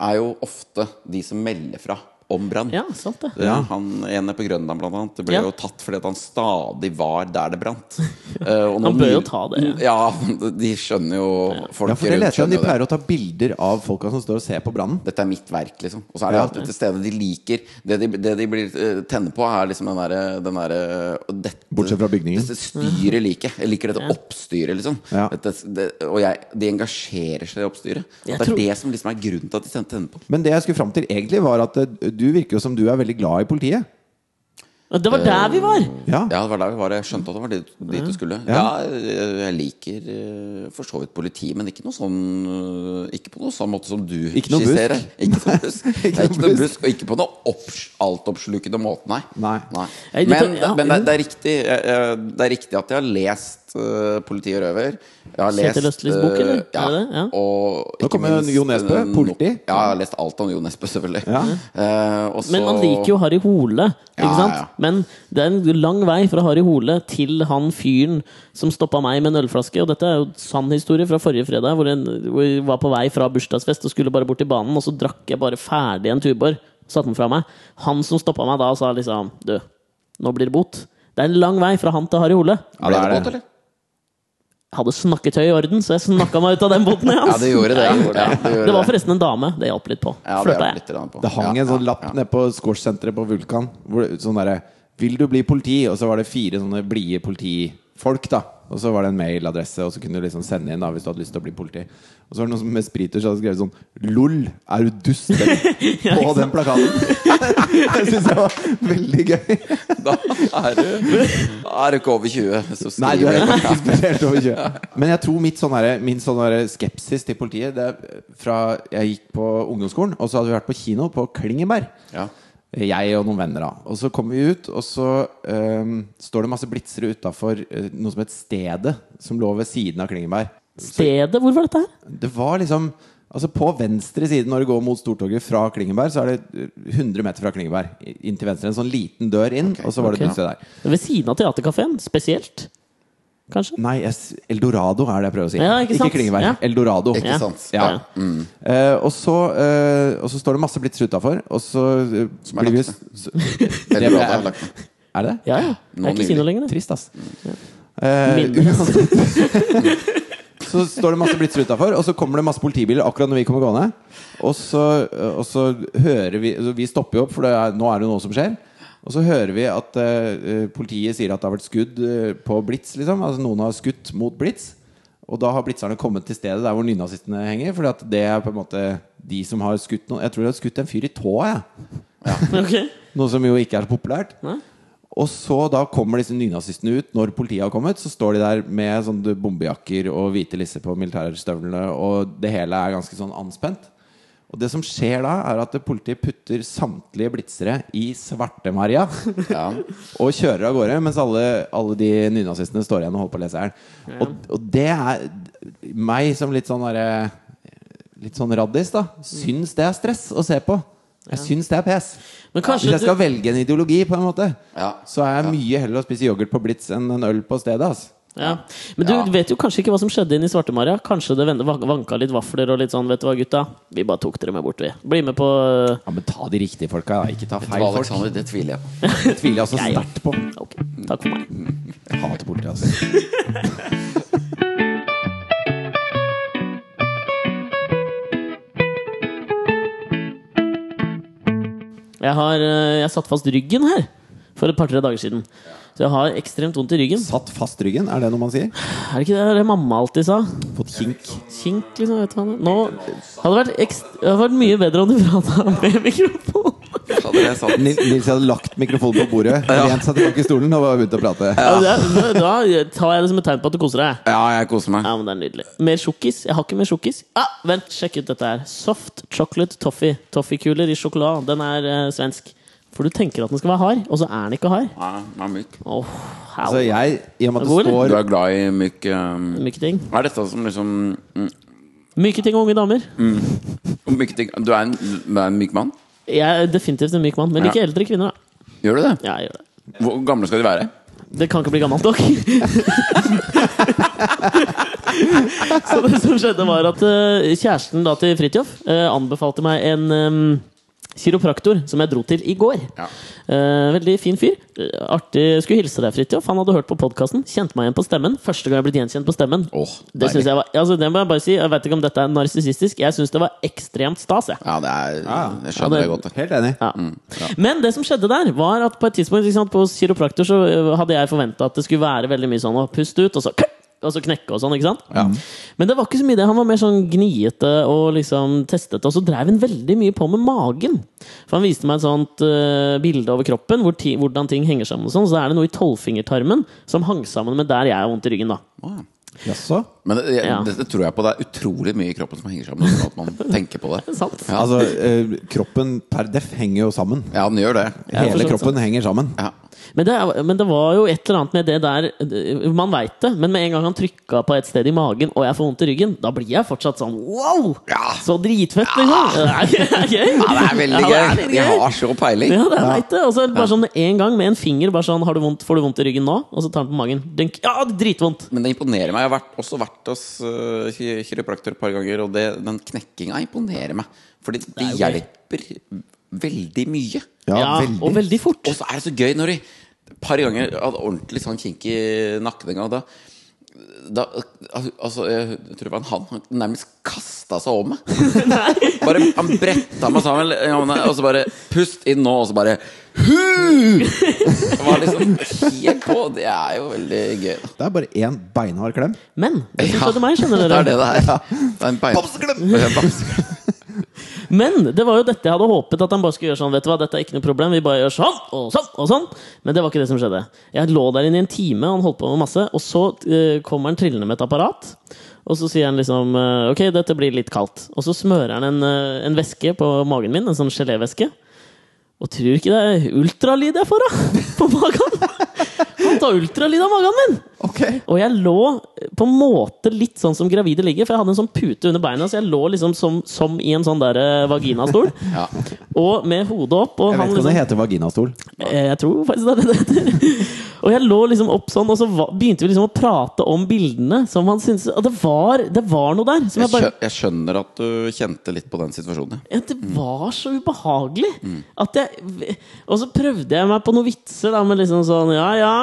er jo ofte de som melder fra om brann. Øh, Ja, sant det. Ja. Han ene på Grønland blant annet Det ble Ja. jo tatt fordi at han stadig var der det brant. Eh, og Han nå- bør jo ta det, Ja, de skjønner jo Folk Ja, for det rundt leter jeg om. skjønner De jo det. pleier å ta bilder av folka som står og ser på brannen. Dette er mitt verk, liksom. Og så er de alltid til stede. De liker Det de, det de blir eh, tenner på, er liksom den derre den der, og dette- Bortsett fra bygningen. Dette styret liker jeg. Jeg liker dette oppstyret, liksom. Ja. Dette, det, og jeg, de engasjerer seg i oppstyret. det Jeg er tror- det som liksom er grunnen til at de ten- tenner på. Men det jeg skulle fram til egentlig, var at eh, du virker jo som du er veldig glad i politiet. Men Det var der vi var! Ja. Ja, det var der vi var. Jeg skjønte at det var dit, dit du skulle. Ja, eh, jeg liker eh, for så vidt politi, men ikke noe sånn eh, Ikke på noe sånn måte som du Ikke noe busk. skisserer. Ikke noe busk. Det er noe ikke noe busk. busk, og ikke på noe opps- altoppslukende måte, nei. Nei. Nei, Men, du tar- ja, men det, mm. det, er riktig, jeg- jeg- det er riktig at jeg har lest eh, 'Politi og røver'. Jeg har Kjetil lest, Østlis bok, eh, eller? Ja. Er det det? Ja. Og Nå ikke kommer minst, Jo Nesbø, eh, no- politi. Ja, jeg har lest alt om Jo Nesbø, selvfølgelig. Ja. Eh, og Men så- man liker jo Harry Hole, ikke Ja, sant? ja. Men det er en lang vei fra Harry Hole til han fyren som stoppa meg med en ølflaske. Og dette er jo sann historie fra forrige fredag, hvor en- hvor jeg var på vei fra bursdagsfest og skulle bare bort til banen, og så drakk jeg bare ferdig en tuborg. Satte den fra meg. Han som stoppa meg da, sa liksom Du, nå blir det bot. Det er en lang vei fra han til Harry Ble Hole. Ja, det er det det. båt, eller? Jeg hadde snakketøy i orden, så jeg snakka meg ut av den boten, jeg, Ja, ass. det gjorde det. Ja, det, gjorde Det var forresten en dame. Det hjalp litt på. Ja, det Flørta hjalp jeg. litt grann på. Det hang ja, en sånn ja, lapp ja. nede på squashsenteret på Vulkan. Hvor det, sånn derre 'Vil du bli politi?' Og så var det fire sånne blide politifolk, da. Og så var det en mailadresse, og så kunne du liksom sende inn da hvis du hadde lyst til å bli politi. Og så var det noen som med spriter som hadde skrevet sånn 'LOL, er du dust?' på den plakaten. jeg syns det var veldig gøy. Da er du, da er du ikke over 20. Så Nei, du skriver er jeg ikke spesielt over kjøret. Men jeg tror mitt sånn herre- min sånn herre skepsis til politiet Det er fra jeg gikk på ungdomsskolen, og så hadde vi vært på kino på Klingenberg. Ja. Jeg og noen venner, da. Og så kommer vi ut, og så øhm, står det masse blitzere utafor øh, noe som het Stedet, som lå ved siden av Klingenberg. Stedet? Hvor var dette her? Det var liksom Altså På venstre side når du går mot Stortorget fra Klingenberg, så er det øh, 100 meter fra Klingenberg. i- Inn til venstre. En sånn liten dør inn, og så var det ok. et utested der. Ved siden av teaterkafeen, spesielt? Kanskje? Nei, jeg, s- Eldorado er det jeg prøver å si. Ja, ikke sant? Klingeberg. Ja. Eldorado. Ikke Ja. sant? Mm. Ja. Eh, og, så, eh, og så står det masse blitzer utafor, og så eh, er blir vi lagt s- Veldig Det bra, ble- da har jeg lagt meg. Er det det? Ja, ja. Jeg Nå er ikke i kino nylig. lenger. jeg. Trist, ass. Eh, Mindre. så står det masse blitzer utafor, og så kommer det masse politibiler akkurat når vi kommer gående. Og så, og så hører vi altså, Vi stopper jo opp, for det er, nå er det noe som skjer. Og så hører vi at eh, eh, politiet sier at det har vært skudd eh, på blitz. Liksom. Altså noen har skutt mot blitz. Og da har blitzerne kommet til stedet der hvor nynazistene henger. Fordi at det er på en måte de som har skutt noen Jeg tror de har skutt en fyr i tåa, jeg. Ok. Noe som jo ikke er så populært. Nei. Og så da kommer disse nynazistene ut. Når politiet har kommet, så står de der med sånne bombejakker og hvite lisser på militærstøvlene, og det hele er ganske sånn anspent. Og det som skjer da, er at politiet putter samtlige blitzere i Svarte-Maria. Og kjører av gårde, mens alle, alle de nynazistene står igjen og holder på å lese her. Og, og det er meg som litt sånn derre Litt sånn raddis, da. Syns det er stress å se på. Jeg syns det er pes. Men kanskje Hvis jeg skal du- velge en ideologi, på en måte, Ja. så er jeg mye heller å spise yoghurt på Blitz enn en øl på stedet. ass. Ja. Men du Ja. vet jo kanskje ikke hva som skjedde inne i Svartemaria? Kanskje det vende- van- vanka litt vafler og litt sånn, vet du hva, gutta? Vi bare tok dere med bort, vi. Bli med på øh, Ja, Men ta de riktige folka, da. Ikke ta Vet du hva, feil folk. Alexander, det tviler jeg på. Det tviler jeg også Jeg- sterkt på. Ok, takk for meg. Jeg hater politiet, altså. Jeg har øh, jeg satt fast ryggen her for et par-tre dager siden. Så jeg har ekstremt vondt i ryggen. Satt fast ryggen, er det noe man sier? Er det ikke det, det mamma alltid sa? Fått kink. Kink, liksom. Vet du hva det er. Nå hadde det vært, ekst det hadde vært mye bedre om du prata med mikrofon. Hadde det er sant. Nil- Nils hadde lagt mikrofonen på bordet, lent seg tilbake i stolen og bare begynt å prate. Ja, Altså, det er- Da tar jeg det som et tegn på at du koser deg. Ja, jeg koser meg. Ja, men det er nydelig. Mer sjokkis? Jeg har ikke mer sjokkis. Ah, vent, sjekk ut dette her. Soft chocolate toffee. Toffeekuler i sjokolade. Den er eh, svensk. For du tenker at den skal være hard, og så er den ikke hard. Ja, den er myk. Åh, au. Så Altså, jeg, i og med at God, det eller? Du står er glad i myk eh, Myke ting. Er dette som liksom mm, Myke ting og unge damer. myke ting Du er en, du er en myk mann? Jeg er definitivt en myk mann, men Ja. ikke eldre kvinner, da. Gjør du det? Ja, jeg gjør det. Hvor gamle skal de være? Det kan ikke bli gammelt nok. så det som skjedde, var at eh, kjæresten da til Fridtjof eh, anbefalte meg en em, kiropraktor som jeg dro til i går. Ja. Eh, veldig fin fyr. Eh, Artig. Skulle hilse deg, Fridtjof. Han hadde hørt på podkasten. Kjente meg igjen på stemmen. Første gang jeg ble gjenkjent på stemmen. Åh, det deilig. synes jeg var altså, Det må jeg bare si. Jeg vet ikke om dette er narsissistisk. Jeg syns det var ekstremt stas. Jeg. Ja, det er Ja. Jeg Ja, skjønner det- det godt. det. Helt enig. Mm, Ja. Men det som skjedde der, var at på et tidspunkt ikke sant, på kiropraktor så ø, hadde jeg forventa at det skulle være veldig mye sånn å puste ut, og så, klikk, og så knekke og sånn. ikke sant? Men det var ikke så mye det. Han var mer sånn gniete og liksom testete. Og så dreiv han veldig mye på med magen. For han viste meg et sånt ø, bilde over kroppen hvor ti, hvordan ting henger sammen. og sånn, Så er det noe i tolvfingertarmen som hang sammen med der jeg har vondt i ryggen. da. Åh, ja. Jaså? Men det, jeg, Ja. dette tror jeg på. Det er utrolig mye i kroppen som henger sammen. Sånn at man tenker på det. Sant? Ja. Altså, eh, kroppen per deff henger jo sammen. Ja, den gjør det. for så Hele vidt kroppen henger sammen. Ja. Men det, er- men det var jo et eller annet med det der eh, Man veit det, men med en gang han trykka på et sted i magen, og jeg får vondt i ryggen, da blir jeg fortsatt sånn wow! Ja. Så dritfett, liksom! Det er gøy! ja, det er veldig Ja, det gøy. er litt De gøy. har så peiling. Ja, det er veit det. Og så er det bare sånn en gang med en finger bare sånn, har du vondt, 'Får du vondt i ryggen nå?' Og så tar han på magen. Dunk. Ja, dritvondt! Men det imponerer meg. Jeg har vært, også vært hos øh, ki- kiropraktor et par ganger, og det, den knekkinga imponerer meg. Fordi det jo gøy. hjelper veldig mye. Ja, Ja, veldig. og veldig fort. Og så er det så gøy når de et par ganger hadde ordentlig sånn kinky nakken en gang. Da, da al- altså, Jeg tror det var en han. Han nærmest kasta seg over meg. Bare, han bretta meg sammen, ja, men, og så bare Pust inn nå, og så bare Hu! Det var liksom helt på. Det er jo veldig gøy. Da. Det er bare én beinhard klem. Men det som Ja, skjedde meg, skjønner Det dere. er det det er. Det er en bein... Bamseklem! Men det var jo dette jeg hadde håpet at han bare skulle gjøre sånn. Vet du hva, dette er ikke noe problem, vi bare gjør sånn og sånn og sånn. Men det var ikke det som skjedde. Jeg lå der inne i en time, og han holdt på med masse, og så eh, kommer han trillende med et apparat. Og så sier han liksom eh, Ok, dette blir litt kaldt. Og så smører han en, eh, en væske på magen min, en sånn gelévæske. Og tror du ikke det er ultralyd jeg får, da! På magen! Han tar ultralyd av magen min! Ok Og jeg lå eh, på en måte litt sånn som gravide ligger, for jeg hadde en sånn pute under beina, så jeg lå liksom som, som i en sånn der eh, vaginastol. Ja. Og med hodet opp. Og Jeg vet han ikke om det liksom, heter vaginastol. eh, jeg tror faktisk det er det det heter. Og jeg lå liksom opp sånn, og så va- begynte vi liksom å prate om bildene som han syntes Og det var, det var noe der. Som Jeg, jeg bare, skjø- jeg skjønner at du kjente litt på den situasjonen. ja. ja, det var så ubehagelig Mm. at jeg Og så prøvde jeg meg på noen vitser, da, med liksom sånn Ja, ja.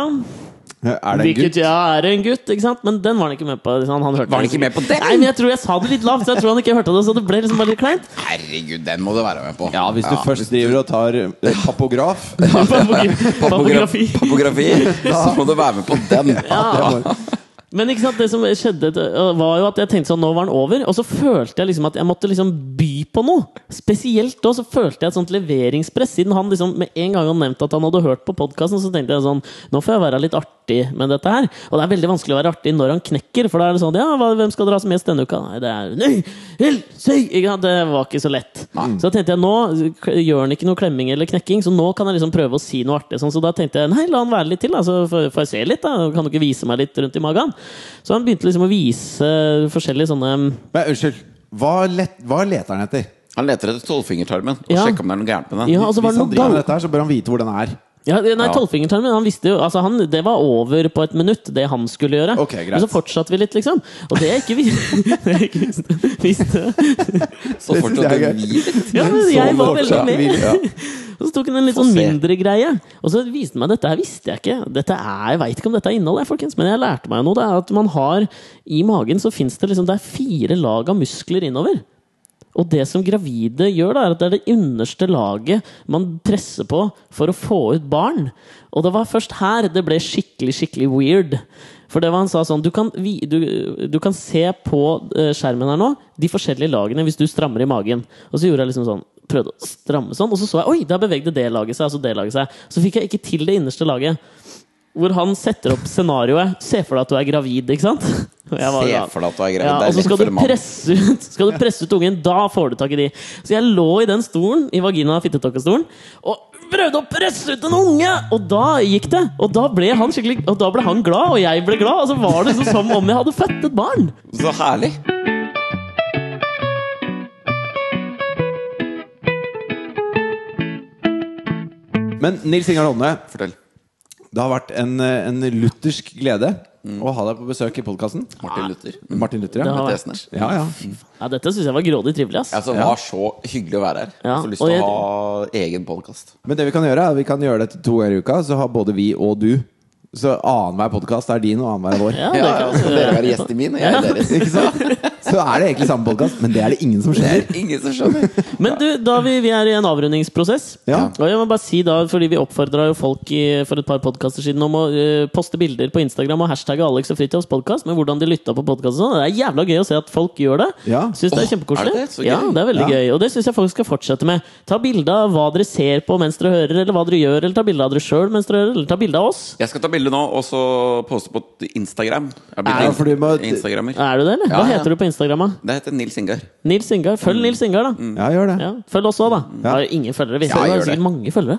Er det en Hvilket gutt? ja, er en gutt, ikke sant? Men den var han ikke med på. Liksom. Han hørte Var han ikke med på den? Nei, men jeg tror jeg sa det litt lavt, så jeg tror han ikke hørte det. Så det ble liksom bare litt kleint. Herregud, den må du være med på. Ja, hvis du først driver og tar eh, papograf Papografi. Papografi, så må du være med på den. Ja. Det var- Men ikke sant, det som skjedde, øh, var jo at jeg tenkte sånn Nå var den over. Og så følte jeg liksom at jeg måtte liksom by på noe. Spesielt da så følte jeg et sånt leveringspress. Siden han liksom med en gang han nevnte at han hadde hørt på podkasten, så tenkte jeg sånn Nå får jeg være litt artig med dette her. Og det er veldig vanskelig å være artig når han knekker. For da er det sånn Ja, hva, hvem skal dra som gjest denne uka? Nei, det er Nei! Hell, si! Ikke sant? Det var ikke så lett. Så da tenkte jeg nå k- gjør han ikke noe klemming eller knekking, så nå kan jeg liksom prøve å si noe artig. Sånn. Så da tenkte jeg nei, la han være litt til, da, så får får jeg se litt. da Kan du ikke vise meg litt rundt i magen? Så han begynte liksom å vise forskjellige sånne Men unnskyld, hva, let, hva leter han etter? Han leter etter tolvfingertarmen og Ja. sjekker om det er noe gærent med den. Ja, og så var Sånn Hvis det han noe driver med gal... dette her, så bør han vite hvor den er. Ja, nei, Ja. tolvfingertarmen. Han visste jo Altså, han, det var over på et minutt, det han skulle gjøre. Ok, greit. Men så fortsatte vi litt, liksom. Og det jeg ikke, vi- det jeg ikke visste, visste Så Det synes jeg fortsatte er vi litt. Ja, men jeg var veldig fortsatt sånn med. vi- ja. Og så tok hun en litt Få sånn se. mindre greie. Og så viste meg dette her visste jeg ikke. Dette er, Jeg veit ikke om dette er innholdet, folkens, men jeg lærte meg noe. Det er at man har I magen så fins det liksom Det er fire lag av muskler innover. Og det som gravide gjør, da, er at det er det underste laget man presser på for å få ut barn. Og det var først her det ble skikkelig, skikkelig weird. For det var han sa sånn Du kan, vi, du, du kan se på eh, skjermen her nå de forskjellige lagene hvis du strammer i magen. Og så gjorde jeg liksom sånn prøvde å stramme sånn, og så så jeg Oi, der bevegde det laget seg, og så det laget seg. Så fikk jeg ikke til det innerste laget. Hvor han setter opp scenarioet. Se for deg at du er gravid, ikke sant? Og jeg var Se da- for deg at du er gravid. Ja, Det er og så lett skal for du en mann. presse ut, skal du presse ut ungen, da får du tak i de. Så jeg lå i den stolen, i vagina- og fittetokkestolen, og prøvde å presse ut en unge! Og da gikk det. Og da ble han skikkelig Og da ble han glad, og jeg ble glad. Og så var det liksom som om jeg hadde født et barn. Så herlig! Men Nils Ingar Holmne, Fortell. det har vært en, eh, en luthersk glede å ha deg på besøk i podkasten. Martin Luther. Martin Luther, Det ja. har- Tesene. ja, ja. Ja, dette syns jeg var grådig trivelig, ass. Altså, det var så hyggelig å være her. Ja, Så lyst til og jeg- å ha egen podkast. Men det vi kan gjøre, er at vi kan gjøre dette to ganger i uka, så har både vi og du. Så annenhver podkast er din, og annenhver er vår. Ja, det Ja, kan ja, så dere være gjest i min, og jeg er deres. Ikke sant? Så er det egentlig samme podkast, men det er det ingen som Det skjønner. er ingen som skjønner. Men du, da vi, vi er i en avrundingsprosess. Ja. Og jeg må bare si da, fordi Vi oppfordra folk i, for et par podkaster siden om å eh, poste bilder på Instagram og hashtagge Alex og Fritjofs podkast med hvordan de lytta på podkasten. Det er jævla gøy å se at folk gjør det. Ja. Synes det Åh, er kjempekoselig. er det så gøy? Ja, det er veldig Ja. gøy. Og det syns jeg folk skal fortsette med. Ta bilde av hva dere ser på mens dere hører, eller hva dere gjør, eller ta bilde av dere sjøl mens dere hører, eller ta bilde av oss. Jeg skal ta bilde nå, og så poste på Instagram. Jeg har blitt Ja, en- for du må- Instagrammer. Er du det, eller? Ja, hva ja. Mm. heter du på Instagram? da? Det heter Nils Ingar. Nils Ingar. Følg Nils Ingar, da. Ja, gjør det. Ja. Følg oss òg, da. Ja. Har ingen følgere. Vi Ja, har gjør det. sikkert mange følgere.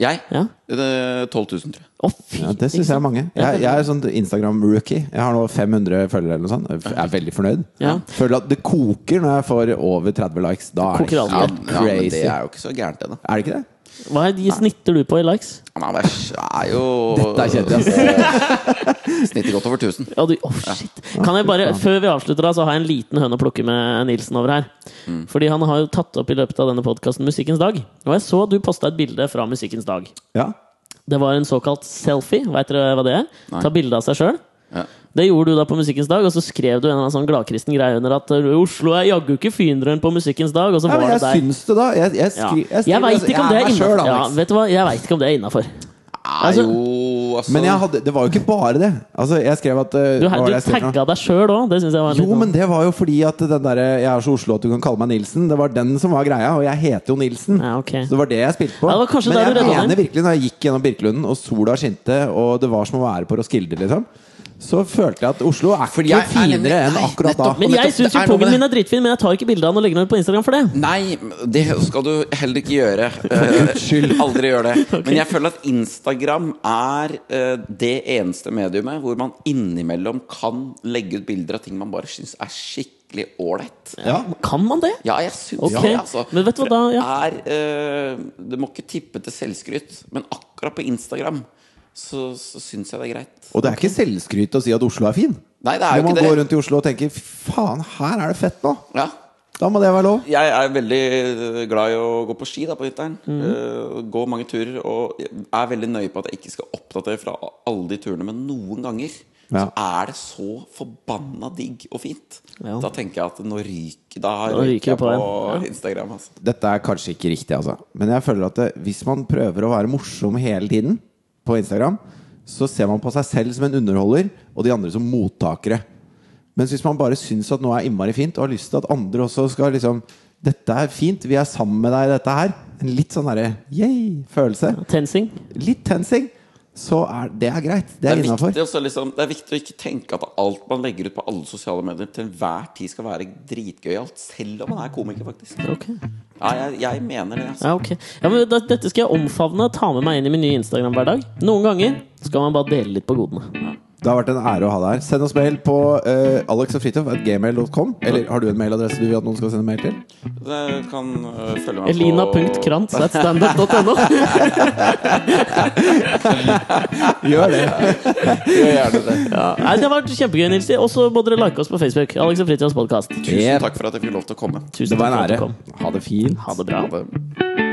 Jeg? Ja. Det er 12 000, tror jeg. Å, fy! Ja, det syns jeg er mange. Jeg, jeg er sånn Instagram-rookie. Jeg har nå 500 følgere eller noe sånt. Jeg er veldig fornøyd. Ja. Føler at det koker når jeg får over 30 likes. Da er det Koker alltid. Ja, helt ja, men crazy. det er jo ikke så gærent, det, da. Er det ikke det? Hva er, snitter du på i likes? Men det er jo Dette er kjedelig, Snittet godt over 1000. Ja, du, åh, shit. Kan jeg bare, Før vi avslutter, da, så har jeg en liten høne å plukke med Nilsen over her. Mm. Fordi han har jo tatt opp i løpet av denne podkasten Musikkens dag. Og jeg så du posta et bilde fra Musikkens dag. Ja. Det var en såkalt selfie. Veit dere hva det er? Nei. Ta bilde av seg sjøl. Ja. Det gjorde du da på Musikkens dag, og så skrev du en eller annen sånn gladkristen greie under at uh, Oslo er jaggu ikke finere enn på Musikkens dag, og så Nei, var men det jeg deg. syns det, da. Jeg, jeg, Ja. skri, jeg, Jeg veit ikke om det er sjøl, innafor. Ja, Alex. vet du hva? Jeg vet ikke om det er innafor. Er Altså- jo altså Men jeg hadde, det var jo ikke bare det. Altså, jeg skrev at eh, Du, hva var du det jeg skrev for noe? tagga deg sjøl òg, det syns jeg var litt Jo, sånn- men det var jo fordi at den derre 'Jeg er så Oslo at du kan kalle meg Nilsen', det var den som var greia, og jeg heter jo Nilsen. Ja, ok. Så det var det jeg spilte på. Ja, det var kanskje men der jeg du redda mener deg. virkelig, når jeg gikk gjennom Birkelunden, og sola skinte, og det var som å være på Roskilde, liksom, så følte jeg at Oslo er Fordi ikke jeg er nemlig- finere enn Nei, akkurat nettopp. da. Men Og nettopp, jeg syns det jo er noe pungen med min er dritfin, men jeg tar ikke bilde av den og legger den ut på Instagram for det. Nei, det skal du heller ikke gjøre. Eh, skyld. Aldri gjør det. Men jeg føler at Instagram er eh, det eneste mediumet hvor man innimellom kan legge ut bilder av ting man bare syns er skikkelig ålreit. Ja. Kan man det? Ja, jeg syns Ok, det, altså. men vet du hva da, ja. Det er, eh, det må ikke tippe til selvskryt, men akkurat på Instagram så, så syns jeg det er greit. Og det er ikke selvskryt å si at Oslo er fin. Nei, det er Når jo man ikke det. går rundt i Oslo og tenker 'fy faen, her er det fett nå', Ja. da må det være lov. Jeg er veldig eh, glad i å gå på ski da på vinteren. Mm. Eh, gå mange turer. Og jeg er veldig nøye på at jeg ikke skal oppdatere fra alle de turene, men noen ganger så Ja. er det så forbanna digg og fint. Ja. Da tenker jeg at nå ryker Da ryker ryker det jeg på på, en. Ja. Instagram. Altså. Dette er kanskje ikke riktig, altså. Men jeg føler at det, hvis man prøver å være morsom hele tiden på Instagram, så ser man på seg selv som en underholder, og de andre som mottakere. Mens hvis man bare syns at noe er innmari fint, og har lyst til at andre også skal liksom Dette er fint, vi er sammen med deg i dette her. En litt sånn derre yay-følelse. Tensing. Litt tensing. Så er det er greit. Det Det er, er, innafor. viktig også, liksom, det er viktig å ikke tenke at alt man legger ut på alle sosiale medier, til enhver tid skal være dritgøyalt. Selv om man er komiker, faktisk. Ok. Ja, jeg, jeg mener det. Altså. Ja, ok. Ja, men da, dette skal jeg omfavne og ta med meg inn i min nye Instagram-hverdag. Noen ganger skal man bare dele litt på godene. Det har vært en ære å ha deg her. Send oss mail på uh, alexogfritjof.gmail.com. Eller har du en mailadresse du vil at noen skal sende mail til? Det kan øh, følge meg Altså- Elina.krantz.standup.no. Gjør det! Gjør gjerne det. Ja, nei, det har vært kjempegøy, Nilsi. Og så må dere like oss på Facebook. Alex og Fritjofs podkast. Tusen takk for at jeg fikk lov til å komme. Tusen Det var en takk for at du ære. kom. Ha det fint. Ha det bra. Ha det.